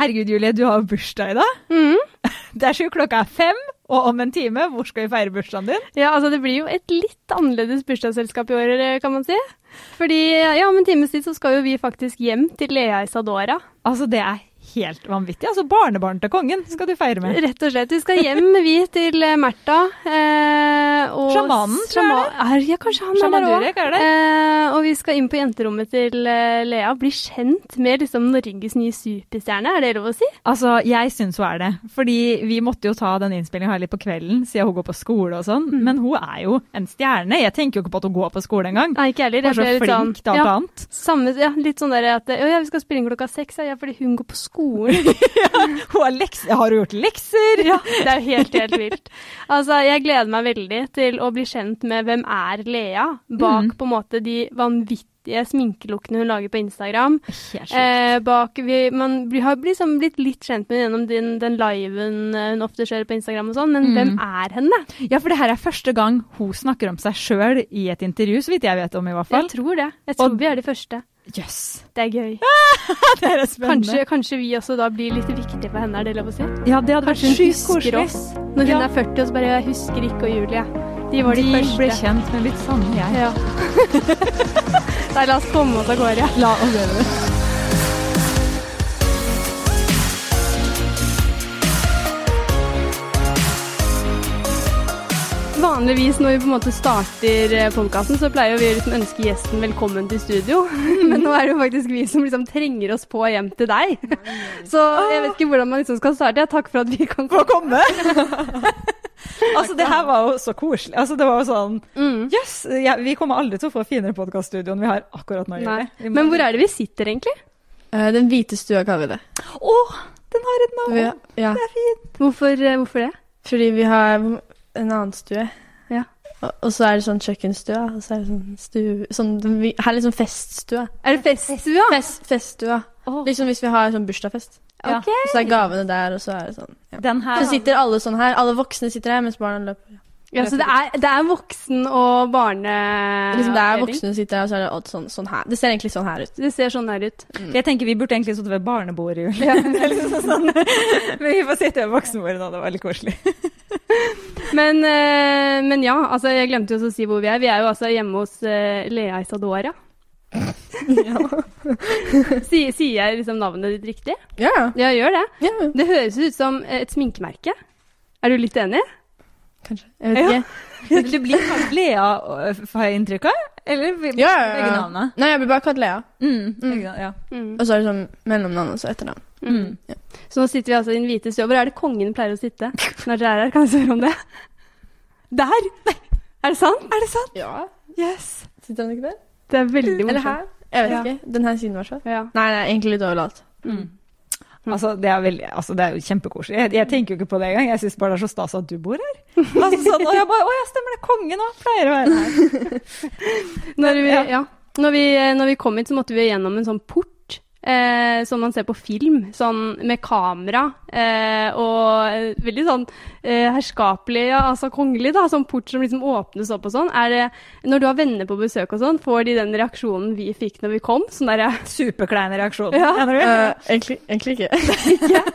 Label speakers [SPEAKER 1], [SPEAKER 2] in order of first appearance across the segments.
[SPEAKER 1] Herregud, Julie, du har jo bursdag i dag.
[SPEAKER 2] Mm.
[SPEAKER 1] Det er sju, klokka er fem, og om en time, hvor skal vi feire bursdagen din?
[SPEAKER 2] Ja, altså det blir jo et litt annerledes bursdagsselskap i år, eh, kan man si. Fordi ja, om en times tid så skal jo vi faktisk hjem til Lea Isadora.
[SPEAKER 1] Altså, det er helt vanvittig. Altså, barnebarn til kongen skal du feire med.
[SPEAKER 2] Rett og slett. Vi skal hjem, vi, til eh, Märtha. Eh, og
[SPEAKER 1] Sjamanen, tror jeg
[SPEAKER 2] Sjama- er. Ja, kanskje han
[SPEAKER 1] Sjaman
[SPEAKER 2] er der
[SPEAKER 1] Durek, er det?
[SPEAKER 2] òg. Eh, og vi skal inn på jenterommet til eh, Lea. Bli kjent med liksom Norges nye superstjerne, er det lov å si?
[SPEAKER 1] Altså, jeg syns hun er det. Fordi vi måtte jo ta den innspillinga litt på kvelden, siden hun går på skole og
[SPEAKER 2] Mm.
[SPEAKER 1] sånn. Men hun er jo en stjerne. Jeg tenker jo ikke på at hun går på skole engang.
[SPEAKER 2] Nei, ikke heller.
[SPEAKER 1] Hun
[SPEAKER 2] Jeg
[SPEAKER 1] er så
[SPEAKER 2] ble litt sånn-
[SPEAKER 1] flink til alt
[SPEAKER 2] ja,
[SPEAKER 1] annet.
[SPEAKER 2] Samme, ja, litt sånn der at Å ja, vi skal spille inn klokka seks, ja, ja, fordi hun går på skolen.
[SPEAKER 1] Hun har, leks har hun gjort lekser?
[SPEAKER 2] ja, det er jo helt, helt vilt. Altså, jeg gleder meg veldig til å bli kjent med hvem er Lea, bak på en måte de vanvittige sminkelukkene hun lager på Instagram.
[SPEAKER 1] Helt sjukt.
[SPEAKER 2] Eh, bak, vi, man blir, har liksom blitt litt kjent med henne gjennom den, den liven eh, hun ofte kjører på Instagram og sånn, men hvem er henne?
[SPEAKER 1] Ja, for det her er første gang hun snakker om seg sjøl i et intervju, så vidt jeg vet om, i hvert fall.
[SPEAKER 2] Jeg tror det. Jeg tror
[SPEAKER 1] Og-
[SPEAKER 2] vi er de første.
[SPEAKER 1] Jøss. Yes.
[SPEAKER 2] Det er gøy.
[SPEAKER 1] Det er spennende.
[SPEAKER 2] Kanskje, kanskje vi også da blir litt viktige for henne, er det lov å si?
[SPEAKER 1] ja, det hadde vært
[SPEAKER 2] Kanskje hun
[SPEAKER 1] sjukt
[SPEAKER 2] husker
[SPEAKER 1] koselig.
[SPEAKER 2] oss når hun
[SPEAKER 1] Ja.
[SPEAKER 2] er 40 og så bare Jeg husker ikke og Julie. De var
[SPEAKER 1] De
[SPEAKER 2] de,
[SPEAKER 1] ble
[SPEAKER 2] første.
[SPEAKER 1] kjent med litt sanne jeg.
[SPEAKER 2] Ja. Nei, la oss komme oss av gårde.
[SPEAKER 1] La oss gjøre det.
[SPEAKER 2] Vanligvis når vi på en måte starter podkasten, så pleier vi å liksom ønske gjesten velkommen til studio. Men nå er det jo faktisk vi som liksom trenger oss på hjem til deg. Så jeg vet ikke hvordan man liksom skal starte. Ja, takk for at vi kan
[SPEAKER 1] Få komme! altså, det her var jo så koselig. Altså, det var jo sånn
[SPEAKER 2] Mm.
[SPEAKER 1] Jøss! ja, vi kommer aldri til å få finere podkaststudio enn vi har akkurat nå.
[SPEAKER 2] Nei. Men hvor er det vi sitter, egentlig?
[SPEAKER 3] Eh, Den hvite stua kaller vi det.
[SPEAKER 1] Å! Den har et navn!
[SPEAKER 3] Vi, ja,
[SPEAKER 1] Det er fint!
[SPEAKER 2] Hvorfor, eh, hvorfor det?
[SPEAKER 3] fordi vi har en annen stue.
[SPEAKER 2] Ja.
[SPEAKER 3] Og, og så er det sånn kjøkkenstua, og så er det sånn stue sånn, den vi- Her er liksom feststua.
[SPEAKER 2] Er det feststua?
[SPEAKER 3] Fest, feststua.
[SPEAKER 2] Åh.
[SPEAKER 3] Liksom hvis vi har sånn bursdagsfest.
[SPEAKER 2] Ja.
[SPEAKER 1] Ok.
[SPEAKER 3] Så er gavene der, og så er det sånn. Ja.
[SPEAKER 1] Den her
[SPEAKER 3] Så sitter alle sånn her. Alle voksne sitter her, mens barna løper.
[SPEAKER 2] Ja, så det er, det er voksen og barne...
[SPEAKER 3] Liksom det er voksne som sitter her, og så er det alt sånn, sånn her. Det ser egentlig sånn her ut.
[SPEAKER 2] Det ser sånn her ut.
[SPEAKER 1] Jeg tenker vi burde egentlig sittet ved barnebordet, Julie. Det er liksom sånn. Men vi får sitte ved voksenbordet nå, det var litt koselig.
[SPEAKER 2] Men, eh, men ja, altså jeg glemte jo også å si hvor vi er. Vi er jo altså hjemme hos eh, Lea Isadora. sier, sier jeg liksom navnet ditt riktig?
[SPEAKER 3] Ja,
[SPEAKER 2] Ja, gjør det.
[SPEAKER 3] ja.
[SPEAKER 2] Det høres ut som eh, et sminkemerke. Er du litt enig?
[SPEAKER 3] Kanskje. Jeg vet ikke.
[SPEAKER 1] Du blir kalt Lea, øh, får jeg inntrykk av? Eller vi-
[SPEAKER 3] Ja, ja,
[SPEAKER 1] begge
[SPEAKER 3] ja.
[SPEAKER 1] navnene?
[SPEAKER 3] Nei, jeg blir bare kalt Lea.
[SPEAKER 1] Mm, begge navn, ja.
[SPEAKER 2] Mm.
[SPEAKER 3] Og så er det sånn mellomnavn og så etternavn.
[SPEAKER 1] Mm.
[SPEAKER 2] Så nå sitter vi altså i den hvite stua. Hvor er det kongen pleier å sitte når dere er her? Kan jeg spørre om det? Der! Er det sant? Er det sant?
[SPEAKER 3] Ja.
[SPEAKER 2] Yes.
[SPEAKER 3] Sitter han ikke der?
[SPEAKER 2] Det er veldig
[SPEAKER 3] Eller
[SPEAKER 2] morsomt.
[SPEAKER 3] her? Jeg vet
[SPEAKER 2] Ja.
[SPEAKER 3] ikke. Den her siden, i hvert fall.
[SPEAKER 2] Ja.
[SPEAKER 3] Nei, nei, egentlig litt overalt.
[SPEAKER 1] Altså, det er, veldig, altså, det er jo kjempekoselig. Jeg, jeg tenker jo ikke på det engang. Jeg syns bare det er så stas at du bor her. Altså, sånn, og jeg bare Å ja, stemmer det. Kongen òg pleier å være her.
[SPEAKER 2] Når vi,
[SPEAKER 1] Ja.
[SPEAKER 2] ja. når, vi, når vi kom hit, så måtte vi gjennom en sånn port. Eh, som man ser på film, sånn med kamera eh, og eh, veldig sånn eh, herskapelig, ja, altså kongelig, da. Sånn port som liksom åpnes opp og sånn. Er det, når du har venner på besøk og sånn, får de den reaksjonen vi fikk når vi kom? Sånn derre
[SPEAKER 1] Superklein reaksjon.
[SPEAKER 2] Ja.
[SPEAKER 1] Mener du?
[SPEAKER 3] Eh, egentlig, egentlig ikke.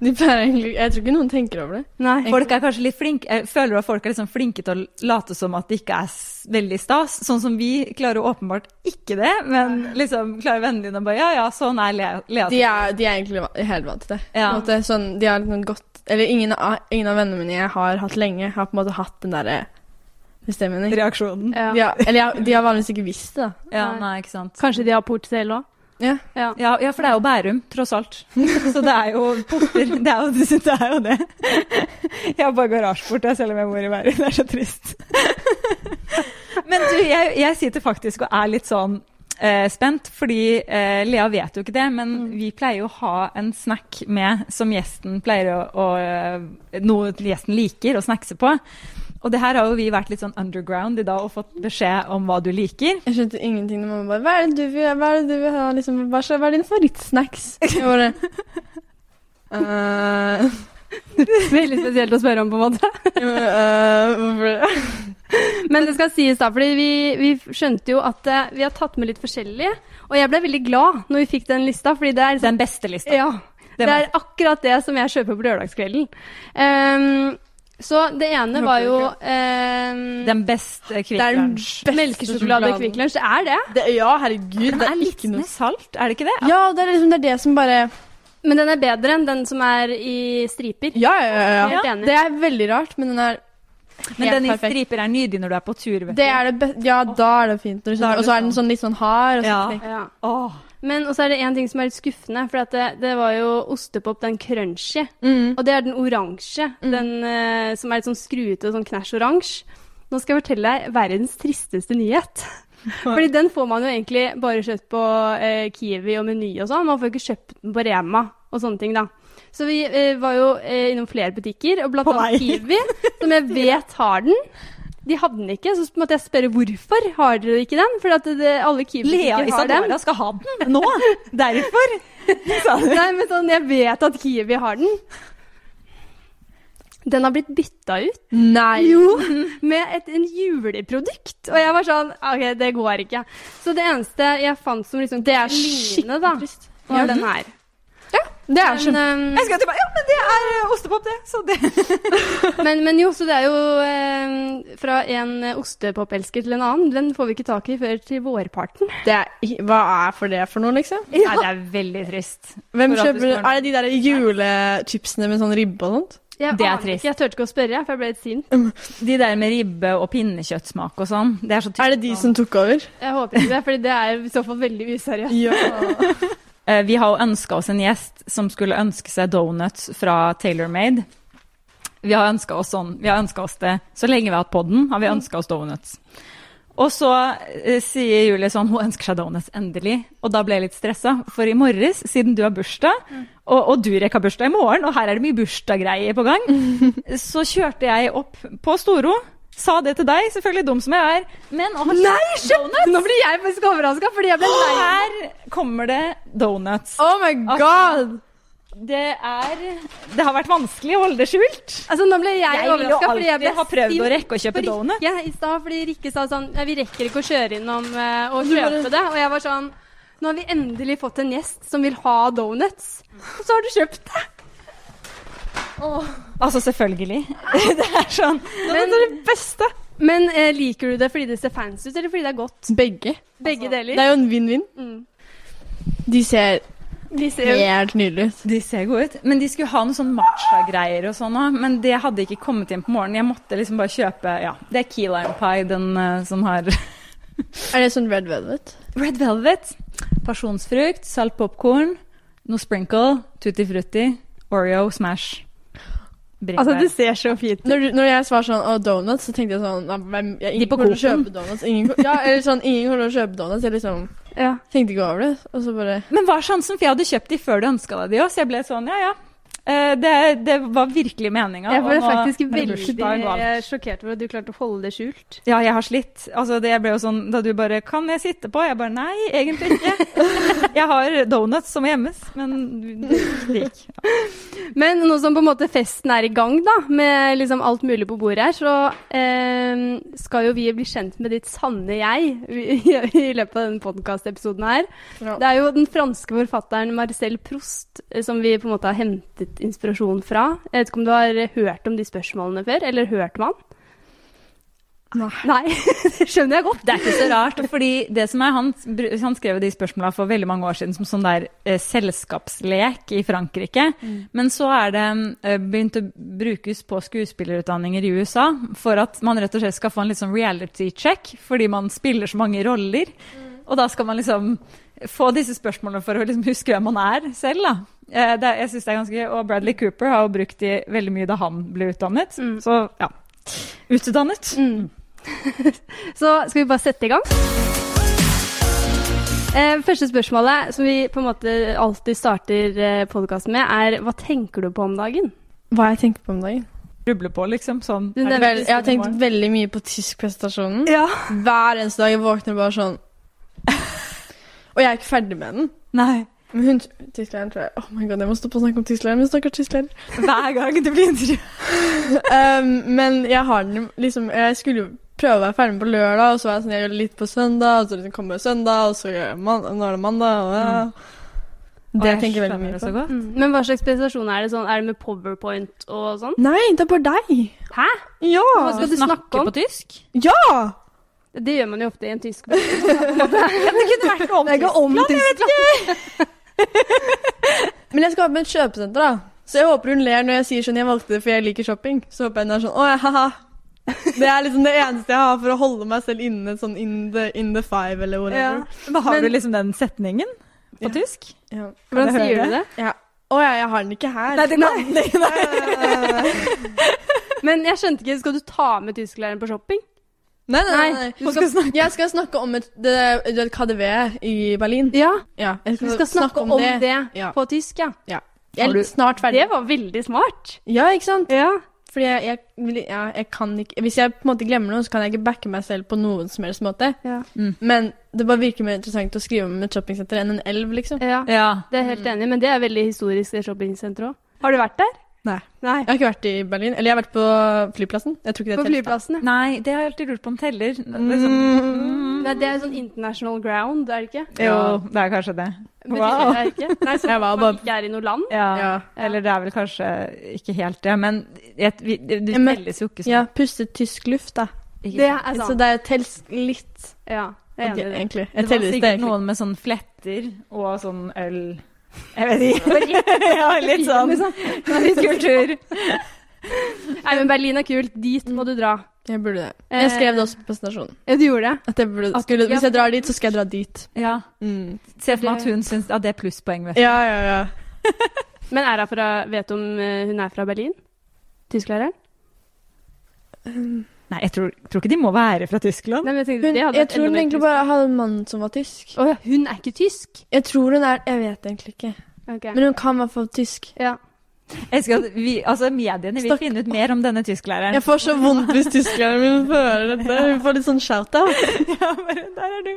[SPEAKER 3] De pleier egentlig Jeg tror ikke noen tenker over det.
[SPEAKER 2] Nei.
[SPEAKER 1] Eh, Folk er kanskje litt flinke, jeg føler at folk er liksom flinke til å late som at det ikke er s- veldig stas. Sånn som vi klarer jo åpenbart ikke det, men liksom klarer vennene dine å bare ja ja, sånn er Lea. Lea.
[SPEAKER 3] De er, de er egentlig va- helt vant til det.
[SPEAKER 1] Ja.
[SPEAKER 3] På en måte, sånn, de har liksom gått Eller ingen av, ingen av vennene mine jeg har hatt lenge, har på en måte hatt den derre Hvis det mener.
[SPEAKER 1] Reaksjonen.
[SPEAKER 2] Ja.
[SPEAKER 3] Ja, eller jeg, de har vanligvis ikke visst det, da.
[SPEAKER 1] Ja,
[SPEAKER 2] Nei.
[SPEAKER 1] nei, ikke sant.
[SPEAKER 2] Kanskje de har port selv òg?
[SPEAKER 3] Ja.
[SPEAKER 2] Ja.
[SPEAKER 1] Ja, ja, for det er jo Bærum, tross alt. Så det er jo porter. Det er jo det. Er jo det. Jeg har bare garasjeport, jeg, selv om jeg bor i Bærum. Det er så trist. Men du, jeg, jeg sitter faktisk og er litt sånn eh, spent, fordi eh, Lea vet jo ikke det, men vi pleier jo å ha en snack med som gjesten pleier å, å eh, Noe gjesten liker å snackse på. Og det her har jo vi vært litt sånn underground i dag og fått beskjed om hva du liker.
[SPEAKER 3] Jeg skjønte ingenting når mamma bare Hva er det du vil, hva er, det du vil ha? Liksom, hva, skal- hva er din favorittsnacks? Jeg bare «Eh,
[SPEAKER 2] Veldig spesielt å spørre om, på en måte.
[SPEAKER 3] jo, eh, hvorfor det?
[SPEAKER 2] Men det skal sies da, fordi vi, vi skjønte jo at eh, vi har tatt med litt forskjellig, og jeg ble veldig glad når vi fikk den lista, fordi det er liksom,
[SPEAKER 1] Den beste lista.
[SPEAKER 2] ja,
[SPEAKER 1] Det
[SPEAKER 2] Det,
[SPEAKER 1] var-
[SPEAKER 2] er akkurat det som jeg kjøper på lørdagskvelden. Ehm, så det ene var jo ehm,
[SPEAKER 1] Den beste
[SPEAKER 3] Det er den
[SPEAKER 1] Kvikk-lunsj.
[SPEAKER 3] beste
[SPEAKER 2] melkesjokolade og Kvikk Lunsj. Det er det,
[SPEAKER 3] Det, ja, herregud.
[SPEAKER 1] Den
[SPEAKER 3] Det
[SPEAKER 1] er
[SPEAKER 3] er
[SPEAKER 1] litt
[SPEAKER 3] ikke
[SPEAKER 1] med
[SPEAKER 3] noe
[SPEAKER 1] salt, er det ikke det?
[SPEAKER 3] Ja, det er liksom det, er det som bare
[SPEAKER 2] men den er bedre enn den som er i striper.
[SPEAKER 3] Ja, ja, ja. ja.
[SPEAKER 2] Helt enig.
[SPEAKER 3] Det er veldig rart, men den er
[SPEAKER 1] Men
[SPEAKER 3] helt
[SPEAKER 1] den i
[SPEAKER 3] perfekt.
[SPEAKER 1] striper er nydelig når du er på tur. Vet du.
[SPEAKER 3] Det er det beste Ja, da er det fint. når du
[SPEAKER 1] Da er
[SPEAKER 3] sitter-
[SPEAKER 1] det
[SPEAKER 3] Og så er den
[SPEAKER 1] sånn.
[SPEAKER 3] sånn litt sånn hard. Og så
[SPEAKER 1] Ja.
[SPEAKER 3] knekk.
[SPEAKER 2] Ja.
[SPEAKER 1] Åh.
[SPEAKER 2] Men også er det én ting som er litt skuffende, for at det, det var jo ostepop, den crunchy.
[SPEAKER 1] Mm.
[SPEAKER 3] mm.
[SPEAKER 2] Og det er den oransje, den eh, som er litt sånn skruete og sånn knæsj oransje. Nå skal jeg fortelle deg verdens tristeste nyhet. Fordi den får man jo egentlig bare kjøpt på eh, Kiwi og Meny og sånn. Man får ikke kjøpt den på Rema og sånne ting, da. Så vi eh, var jo eh, innom flere butikker, og blant
[SPEAKER 1] På vei.
[SPEAKER 2] annet Kiwi, som jeg vet har den. De hadde den ikke, så måtte jeg spørre hvorfor har dere ikke den? For at det, alle
[SPEAKER 1] Lea
[SPEAKER 2] Kiwi-butikker har den.
[SPEAKER 1] Isadora skal ha den nå! Derfor! Sa du.
[SPEAKER 2] Nei, men sånn, jeg vet at Kiwi har den. Den har blitt bytta ut
[SPEAKER 3] Nei.
[SPEAKER 2] jo, med et en juleprodukt. Og jeg var sånn OK, det går ikke. Så det eneste jeg fant som liksom Det
[SPEAKER 3] er skikkelig
[SPEAKER 2] da,
[SPEAKER 3] trist.
[SPEAKER 2] var den her.
[SPEAKER 3] Det er
[SPEAKER 2] Men, ehm,
[SPEAKER 3] sånn
[SPEAKER 1] Jeg
[SPEAKER 2] øhm,
[SPEAKER 1] skal tilbake. Ja, men det er eh, ostepop, det. Så det.
[SPEAKER 2] men, men jo, så det er jo øhm, fra en eh, ostepopelsker til en annen. Den får vi ikke tak i før til vårparten.
[SPEAKER 3] det er, Hva er for det for noe, liksom?
[SPEAKER 1] Nei, det er veldig trist.
[SPEAKER 3] Hvem
[SPEAKER 1] For at du
[SPEAKER 3] kjøper
[SPEAKER 1] skal ha
[SPEAKER 3] Er det de der julechipsene med sånn ribbe og sånt?
[SPEAKER 2] Jeg
[SPEAKER 1] Det er
[SPEAKER 2] aner
[SPEAKER 1] trist.
[SPEAKER 2] Ikke, jeg turte ikke å spørre, for jeg ble litt sint.
[SPEAKER 1] De der med ribbe og pinnekjøttsmak og sånn, det er så
[SPEAKER 3] Er det de som tok over?
[SPEAKER 2] Jeg håper ikke det, for det er i så fall veldig useriøst.
[SPEAKER 3] Ja.
[SPEAKER 1] Eh, Vi har jo ønska oss en gjest som skulle ønske seg donuts fra Taylor Made. Vi har ønska oss sånn. Vi har ønsket oss det så lenge vi har hatt podden, har vi ønska oss donuts. Og så eh, sier Julie sånn Hun ønsker seg donuts, endelig. Og da ble jeg litt stressa, for i morges, siden du har bursdag, og, og Durek har bursdag i morgen, og her er det mye bursdaggreier på gang, så kjørte jeg opp på Storo. Sa det til deg, selvfølgelig dum som jeg er, men å ha kjøpt donuts
[SPEAKER 2] Nå blir jeg faktisk overraska, fordi jeg ble lei
[SPEAKER 1] Her kommer det donuts.
[SPEAKER 3] Oh my god!
[SPEAKER 1] Det er Det har vært vanskelig å holde det skjult.
[SPEAKER 2] Altså, nå ble jeg,
[SPEAKER 1] Jeg vil jo
[SPEAKER 2] overraska fordi jeg ble
[SPEAKER 1] alltid ha prøvd
[SPEAKER 2] sint
[SPEAKER 1] å rekke å kjøpe
[SPEAKER 2] på
[SPEAKER 1] donut.
[SPEAKER 2] Rikke i stad, fordi Rikke sa sånn ja, Vi rekker ikke å kjøre innom eh, og
[SPEAKER 3] Du bare-
[SPEAKER 2] kjøpe det. Og jeg var sånn Nå har vi endelig fått en gjest som vil ha donuts. Og så har du kjøpt det.
[SPEAKER 1] Altså, selvfølgelig. Det er sånn
[SPEAKER 2] Men,
[SPEAKER 3] det er det beste!
[SPEAKER 2] men eh, liker du det fordi det ser fancy ut, eller fordi det er godt?
[SPEAKER 3] Begge.
[SPEAKER 1] Altså,
[SPEAKER 2] Begge
[SPEAKER 3] Det
[SPEAKER 2] deler.
[SPEAKER 3] er jo en vinn-vinn.
[SPEAKER 2] Mm.
[SPEAKER 3] De ser
[SPEAKER 2] De ser jo
[SPEAKER 3] helt nydelige ut.
[SPEAKER 1] De ser gode ut. Men de skulle ha noen sånn matcha-greier og sånn òg. Men det hadde ikke kommet inn på morgenen. Jeg måtte liksom bare kjøpe Ja, det er key lime pie, den eh, som har
[SPEAKER 3] Er det sånn red velvet?
[SPEAKER 1] Red velvet, pasjonsfrukt, salt popkorn, noe sprinkle, tutti frutti, Oreo, Smash.
[SPEAKER 2] Altså,
[SPEAKER 1] Bringebær.
[SPEAKER 2] det ser så fint ut.
[SPEAKER 3] Når, du- når jeg svarer sånn «Å, donuts', så tenkte jeg sånn «Nei, hvem, jeg,
[SPEAKER 1] De
[SPEAKER 3] Ingen
[SPEAKER 1] på
[SPEAKER 3] kommer til å
[SPEAKER 1] Coop-en.
[SPEAKER 3] kjøpe donuts. Ingen, ko- ja, eller sånn, ingen kommer til å kjøpe donuts. Jeg liksom
[SPEAKER 2] Ja.
[SPEAKER 3] tenkte ikke over det. Og så bare
[SPEAKER 1] Men hva er sjansen? For jeg hadde kjøpt de før du ønska deg de òg, så jeg ble sånn ja, ja. Eh, Det, det var virkelig meninga.
[SPEAKER 2] Jeg ble
[SPEAKER 1] og nå-
[SPEAKER 2] faktisk
[SPEAKER 1] men
[SPEAKER 2] veldig
[SPEAKER 1] bursdagen var-
[SPEAKER 2] eh, sjokkert over at du klarte å holde det skjult.
[SPEAKER 1] Ja, jeg har slitt. Altså, det jeg ble jo sånn da du bare Kan jeg sitte på? Jeg bare nei, egentlig ikke. jeg har donuts som må gjemmes, men det gikk.
[SPEAKER 2] Men nå som på en måte festen er i gang, da, med liksom alt mulig på bordet her, så eh, skal jo vi bli kjent med ditt sanne jeg i, i løpet av denne podkastepisoden her.
[SPEAKER 3] Ja.
[SPEAKER 2] Det er jo den franske forfatteren Marcel Proust eh, som vi på en måte har hentet inspirasjon fra. Jeg vet ikke om du har hørt om de spørsmålene før, eller hørt om han?
[SPEAKER 3] Nei.
[SPEAKER 2] det skjønner jeg godt.
[SPEAKER 1] Det er ikke så rart, fordi det som er, han, han skrev de spørsmåla for veldig mange år siden som sånn der eh, selskapslek i Frankrike. Men så er det eh, begynt å brukes på skuespillerutdanninger i USA for at man rett og slett skal få en litt sånn reality check, fordi man spiller så mange roller. Og da skal man liksom få disse spørsmålene for å liksom huske hvem man er selv, da. Eh, Det, er- jeg synes det er ganske, Og Bradley Cooper har jo brukt de veldig mye da han ble utdannet.
[SPEAKER 2] Mm.
[SPEAKER 1] Så ja. Utdannet.
[SPEAKER 2] Mm. Så skal vi bare sette i gang. Eh, første spørsmålet, som vi på en måte alltid starter eh, podkasten med, er hva tenker du på om dagen?
[SPEAKER 3] Hva jeg tenker på om dagen?
[SPEAKER 1] Ruble på, liksom. Sånn.
[SPEAKER 2] Du nevnte
[SPEAKER 3] Vel, jeg har tenkt
[SPEAKER 1] morgen.
[SPEAKER 3] veldig mye på tyskpresentasjonen.
[SPEAKER 2] Ja.
[SPEAKER 3] Hver eneste dag jeg våkner bare sånn Og jeg er ikke ferdig med den.
[SPEAKER 1] Nei.
[SPEAKER 3] Men hun tysklæreren tror jeg Oh my god, jeg må stoppe å snakke om tysklæreren. Men stakkars tysklærer.
[SPEAKER 1] Hver gang det blir intervju.
[SPEAKER 3] um, men jeg har den liksom Jeg skulle jo prøve å være ferdig med på lørdag, og så var jeg sånn Jeg gjør det litt på søndag, og så liksom kommer søndag, og så gjør jeg man og nå er det mandag, og ja.
[SPEAKER 1] Og
[SPEAKER 3] Det
[SPEAKER 1] jeg
[SPEAKER 3] tenker jeg veldig
[SPEAKER 1] skjønner
[SPEAKER 3] mye
[SPEAKER 1] det så
[SPEAKER 3] på.
[SPEAKER 1] godt.
[SPEAKER 2] Mm. Men hva slags presentasjon er det? Sånn, er det med powerpoint og sånn?
[SPEAKER 3] Nei, det er bare deg!
[SPEAKER 2] Hæ?
[SPEAKER 3] Ja!
[SPEAKER 1] Hva skal du snakke
[SPEAKER 2] om?
[SPEAKER 1] på tysk?
[SPEAKER 3] Ja!
[SPEAKER 2] Det gjør man jo ofte i en tysk
[SPEAKER 1] Det kunne vært noe om
[SPEAKER 3] Jeg er om Men jeg skal være på et kjøpesenter, da. Så jeg håper hun ler når jeg sier sånn jeg valgte det fordi jeg liker shopping. Så håper jeg hun er sånn åh, haha. Det er liksom det eneste jeg har for å holde meg selv inne sånn in the, in the five eller whatever.
[SPEAKER 1] Men har
[SPEAKER 3] Men-
[SPEAKER 1] du liksom den setningen på tysk?
[SPEAKER 3] Ja.
[SPEAKER 2] Hvordan sier du det?
[SPEAKER 3] Ja. Å ja, jeg har den ikke her.
[SPEAKER 1] det kan Nei.
[SPEAKER 3] nei,
[SPEAKER 2] Men jeg skjønte ikke, skal du ta med tysklæreren på shopping?
[SPEAKER 3] nei, nei, nei.
[SPEAKER 1] Hun skal snakke
[SPEAKER 3] Jeg skal snakke om et, det, det er et KDV i Berlin.
[SPEAKER 2] Ja,
[SPEAKER 3] Ja, jeg
[SPEAKER 2] du skal snakke om det,
[SPEAKER 3] Ja.
[SPEAKER 2] på tysk, ja.
[SPEAKER 3] Jeg er snart ferdig.
[SPEAKER 2] Det var veldig smart.
[SPEAKER 3] Ja, ikke sant?
[SPEAKER 2] Ja.
[SPEAKER 3] Fordi jeg, jeg, vil- ja, jeg kan ikke Hvis jeg på en måte glemmer noe, så kan jeg ikke backe meg selv på noen som helst måte.
[SPEAKER 2] Ja.
[SPEAKER 1] Mm.
[SPEAKER 3] Men det bare virker mer interessant å skrive om et shoppingsenter enn en elv, liksom.
[SPEAKER 2] ja.
[SPEAKER 1] Ja.
[SPEAKER 2] Det er jeg helt enig, i, men det er veldig historisk, det shoppingsenteret òg. Har du vært der?
[SPEAKER 3] Nei.
[SPEAKER 2] Nei.
[SPEAKER 3] Jeg har ikke vært i Berlin. Eller jeg har vært på flyplassen. Jeg tror ikke det
[SPEAKER 2] På
[SPEAKER 3] er telt, da.
[SPEAKER 2] flyplassen, ja.
[SPEAKER 1] Nei, det har jeg alltid lurt på om teller. Liksom.
[SPEAKER 3] Mm.
[SPEAKER 2] Nei, det er sånn international ground, er det ikke?
[SPEAKER 1] Jo, det er kanskje det.
[SPEAKER 2] Betyr
[SPEAKER 1] Wow.
[SPEAKER 2] det ikke? Nei, så
[SPEAKER 3] Jeg var
[SPEAKER 2] man
[SPEAKER 3] bare-
[SPEAKER 2] ikke er i noe land?
[SPEAKER 1] Ja.
[SPEAKER 3] Ja.
[SPEAKER 1] Eller det er vel kanskje ikke helt det, men jeg, vi, det det
[SPEAKER 3] Ja, men-
[SPEAKER 1] telles jo ikke sånn.
[SPEAKER 3] ja, puste tysk luft, da.
[SPEAKER 1] Ikke
[SPEAKER 2] Det
[SPEAKER 1] sant?
[SPEAKER 2] er
[SPEAKER 3] Så
[SPEAKER 2] sant.
[SPEAKER 3] det altså- telles litt.
[SPEAKER 2] Ja, jeg er enig
[SPEAKER 3] Ok,
[SPEAKER 2] i det.
[SPEAKER 3] egentlig.
[SPEAKER 1] Det
[SPEAKER 3] Jeg
[SPEAKER 1] var
[SPEAKER 3] teller det
[SPEAKER 1] sikkert
[SPEAKER 3] egentlig.
[SPEAKER 1] noen med sånn fletter og sånn øl Jeg vet ikke. ja, litt sånn. Litt kultur.
[SPEAKER 2] liksom. Nei, men Berlin er kult. Dit må du dra.
[SPEAKER 3] Jeg burde det.
[SPEAKER 2] Eh,
[SPEAKER 3] Jeg skrev det også på presentasjonen.
[SPEAKER 2] Ja, du gjorde det?
[SPEAKER 3] At jeg burde,
[SPEAKER 1] At-
[SPEAKER 3] skulle,
[SPEAKER 1] ja.
[SPEAKER 3] hvis jeg drar dit, så skal jeg dra dit.
[SPEAKER 1] Ja.
[SPEAKER 3] Mm.
[SPEAKER 1] Se for meg at
[SPEAKER 2] Det-
[SPEAKER 1] hun syns ja, det er plusspoeng. Vet. du.
[SPEAKER 3] Ja, ja, ja.
[SPEAKER 2] Men er hun fra, vet du om eh, hun er fra Berlin? Tysklæreren?
[SPEAKER 1] Nei, jeg tror, tror ikke de må være fra Tyskland.
[SPEAKER 2] Nei, men jeg tenkte,
[SPEAKER 3] Hun,
[SPEAKER 2] det hadde
[SPEAKER 3] jeg
[SPEAKER 2] vært
[SPEAKER 3] tror
[SPEAKER 2] enda
[SPEAKER 3] hun
[SPEAKER 2] mer
[SPEAKER 3] egentlig
[SPEAKER 2] kult.
[SPEAKER 3] bare hadde en mann som var tysk.
[SPEAKER 2] Å ja, hun er ikke tysk?
[SPEAKER 3] Jeg tror hun er Jeg vet egentlig ikke.
[SPEAKER 2] Ok.
[SPEAKER 3] Men hun kan i hvert fall tysk.
[SPEAKER 2] ja.
[SPEAKER 1] Jeg skal, vi, altså, mediene vil
[SPEAKER 3] Stakk-
[SPEAKER 1] finne ut mer om denne tysklæreren.
[SPEAKER 3] Jeg får så vondt hvis tyskerne mine hører dette. Hun får litt sånn shout-out.
[SPEAKER 1] Ja, bare, der er du.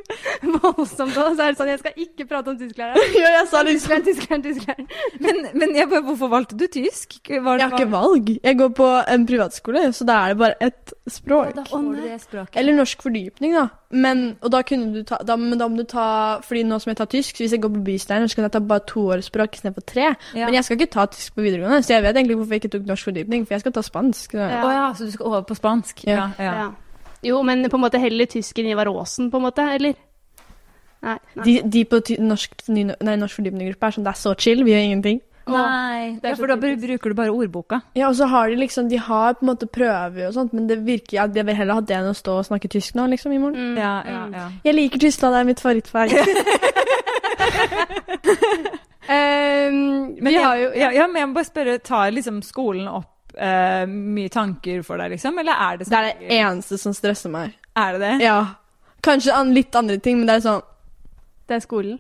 [SPEAKER 2] Voldsomt. Og så er det sånn, jeg skal ikke prate om tysklæreren.
[SPEAKER 3] Ja, jeg sa liksom
[SPEAKER 2] Tysklæreren, tysklæreren, tysklæreren.
[SPEAKER 1] Men, men jeg, bare, hvorfor valgte du tysk? Var,
[SPEAKER 3] Jeg har ikke valg. Jeg går på en privatskole, så da er det bare ett språk.
[SPEAKER 1] Da får du det språket.
[SPEAKER 3] Eller norsk fordypning, da. Men, og da kunne du ta, da, men da må du ta Fordi nå som jeg tar tysk, så hvis jeg går på Bystein, så kan jeg ta bare to års språk istedenfor tre.
[SPEAKER 1] Ja.
[SPEAKER 3] Men jeg skal ikke ta tysk på videregående, så jeg vet egentlig hvorfor jeg ikke tok norsk fordypning, for jeg skal ta spansk. Så.
[SPEAKER 2] Ja.
[SPEAKER 1] Å ja, så du skal over på spansk?
[SPEAKER 3] Ja.
[SPEAKER 1] ja.
[SPEAKER 2] Ja. Jo, men på en måte heller tysk enn Ivar Aasen, på en måte, eller? Nei. nei.
[SPEAKER 3] De, de på ty norsk, ny, nei, norsk fordypninggruppe er sånn Det er så chill, vi gjør ingenting.
[SPEAKER 1] Nei,
[SPEAKER 2] det er
[SPEAKER 1] ja, for
[SPEAKER 2] så
[SPEAKER 1] da br- bruker du bare ordboka.
[SPEAKER 3] Ja, og så har de liksom De har på en måte prøver og sånt, men det virker ja, Jeg vil heller ha det enn å stå og snakke tysk nå, liksom, i morgen.
[SPEAKER 2] Mm,
[SPEAKER 1] Ja, ja,
[SPEAKER 2] mm.
[SPEAKER 1] ja.
[SPEAKER 3] Jeg liker Tyskland, det er mitt favorittfag.
[SPEAKER 2] Ehm,
[SPEAKER 1] Men
[SPEAKER 2] vi
[SPEAKER 1] jeg,
[SPEAKER 2] har jo
[SPEAKER 1] ja, ja, men jeg må bare spørre, tar liksom skolen opp eh, mye tanker for deg, liksom? Eller er det
[SPEAKER 3] Det
[SPEAKER 1] sånn?
[SPEAKER 3] er det eneste som stresser meg.
[SPEAKER 1] Er det det?
[SPEAKER 3] Ja. Kanskje an litt andre ting, men det er sånn
[SPEAKER 2] Det er skolen.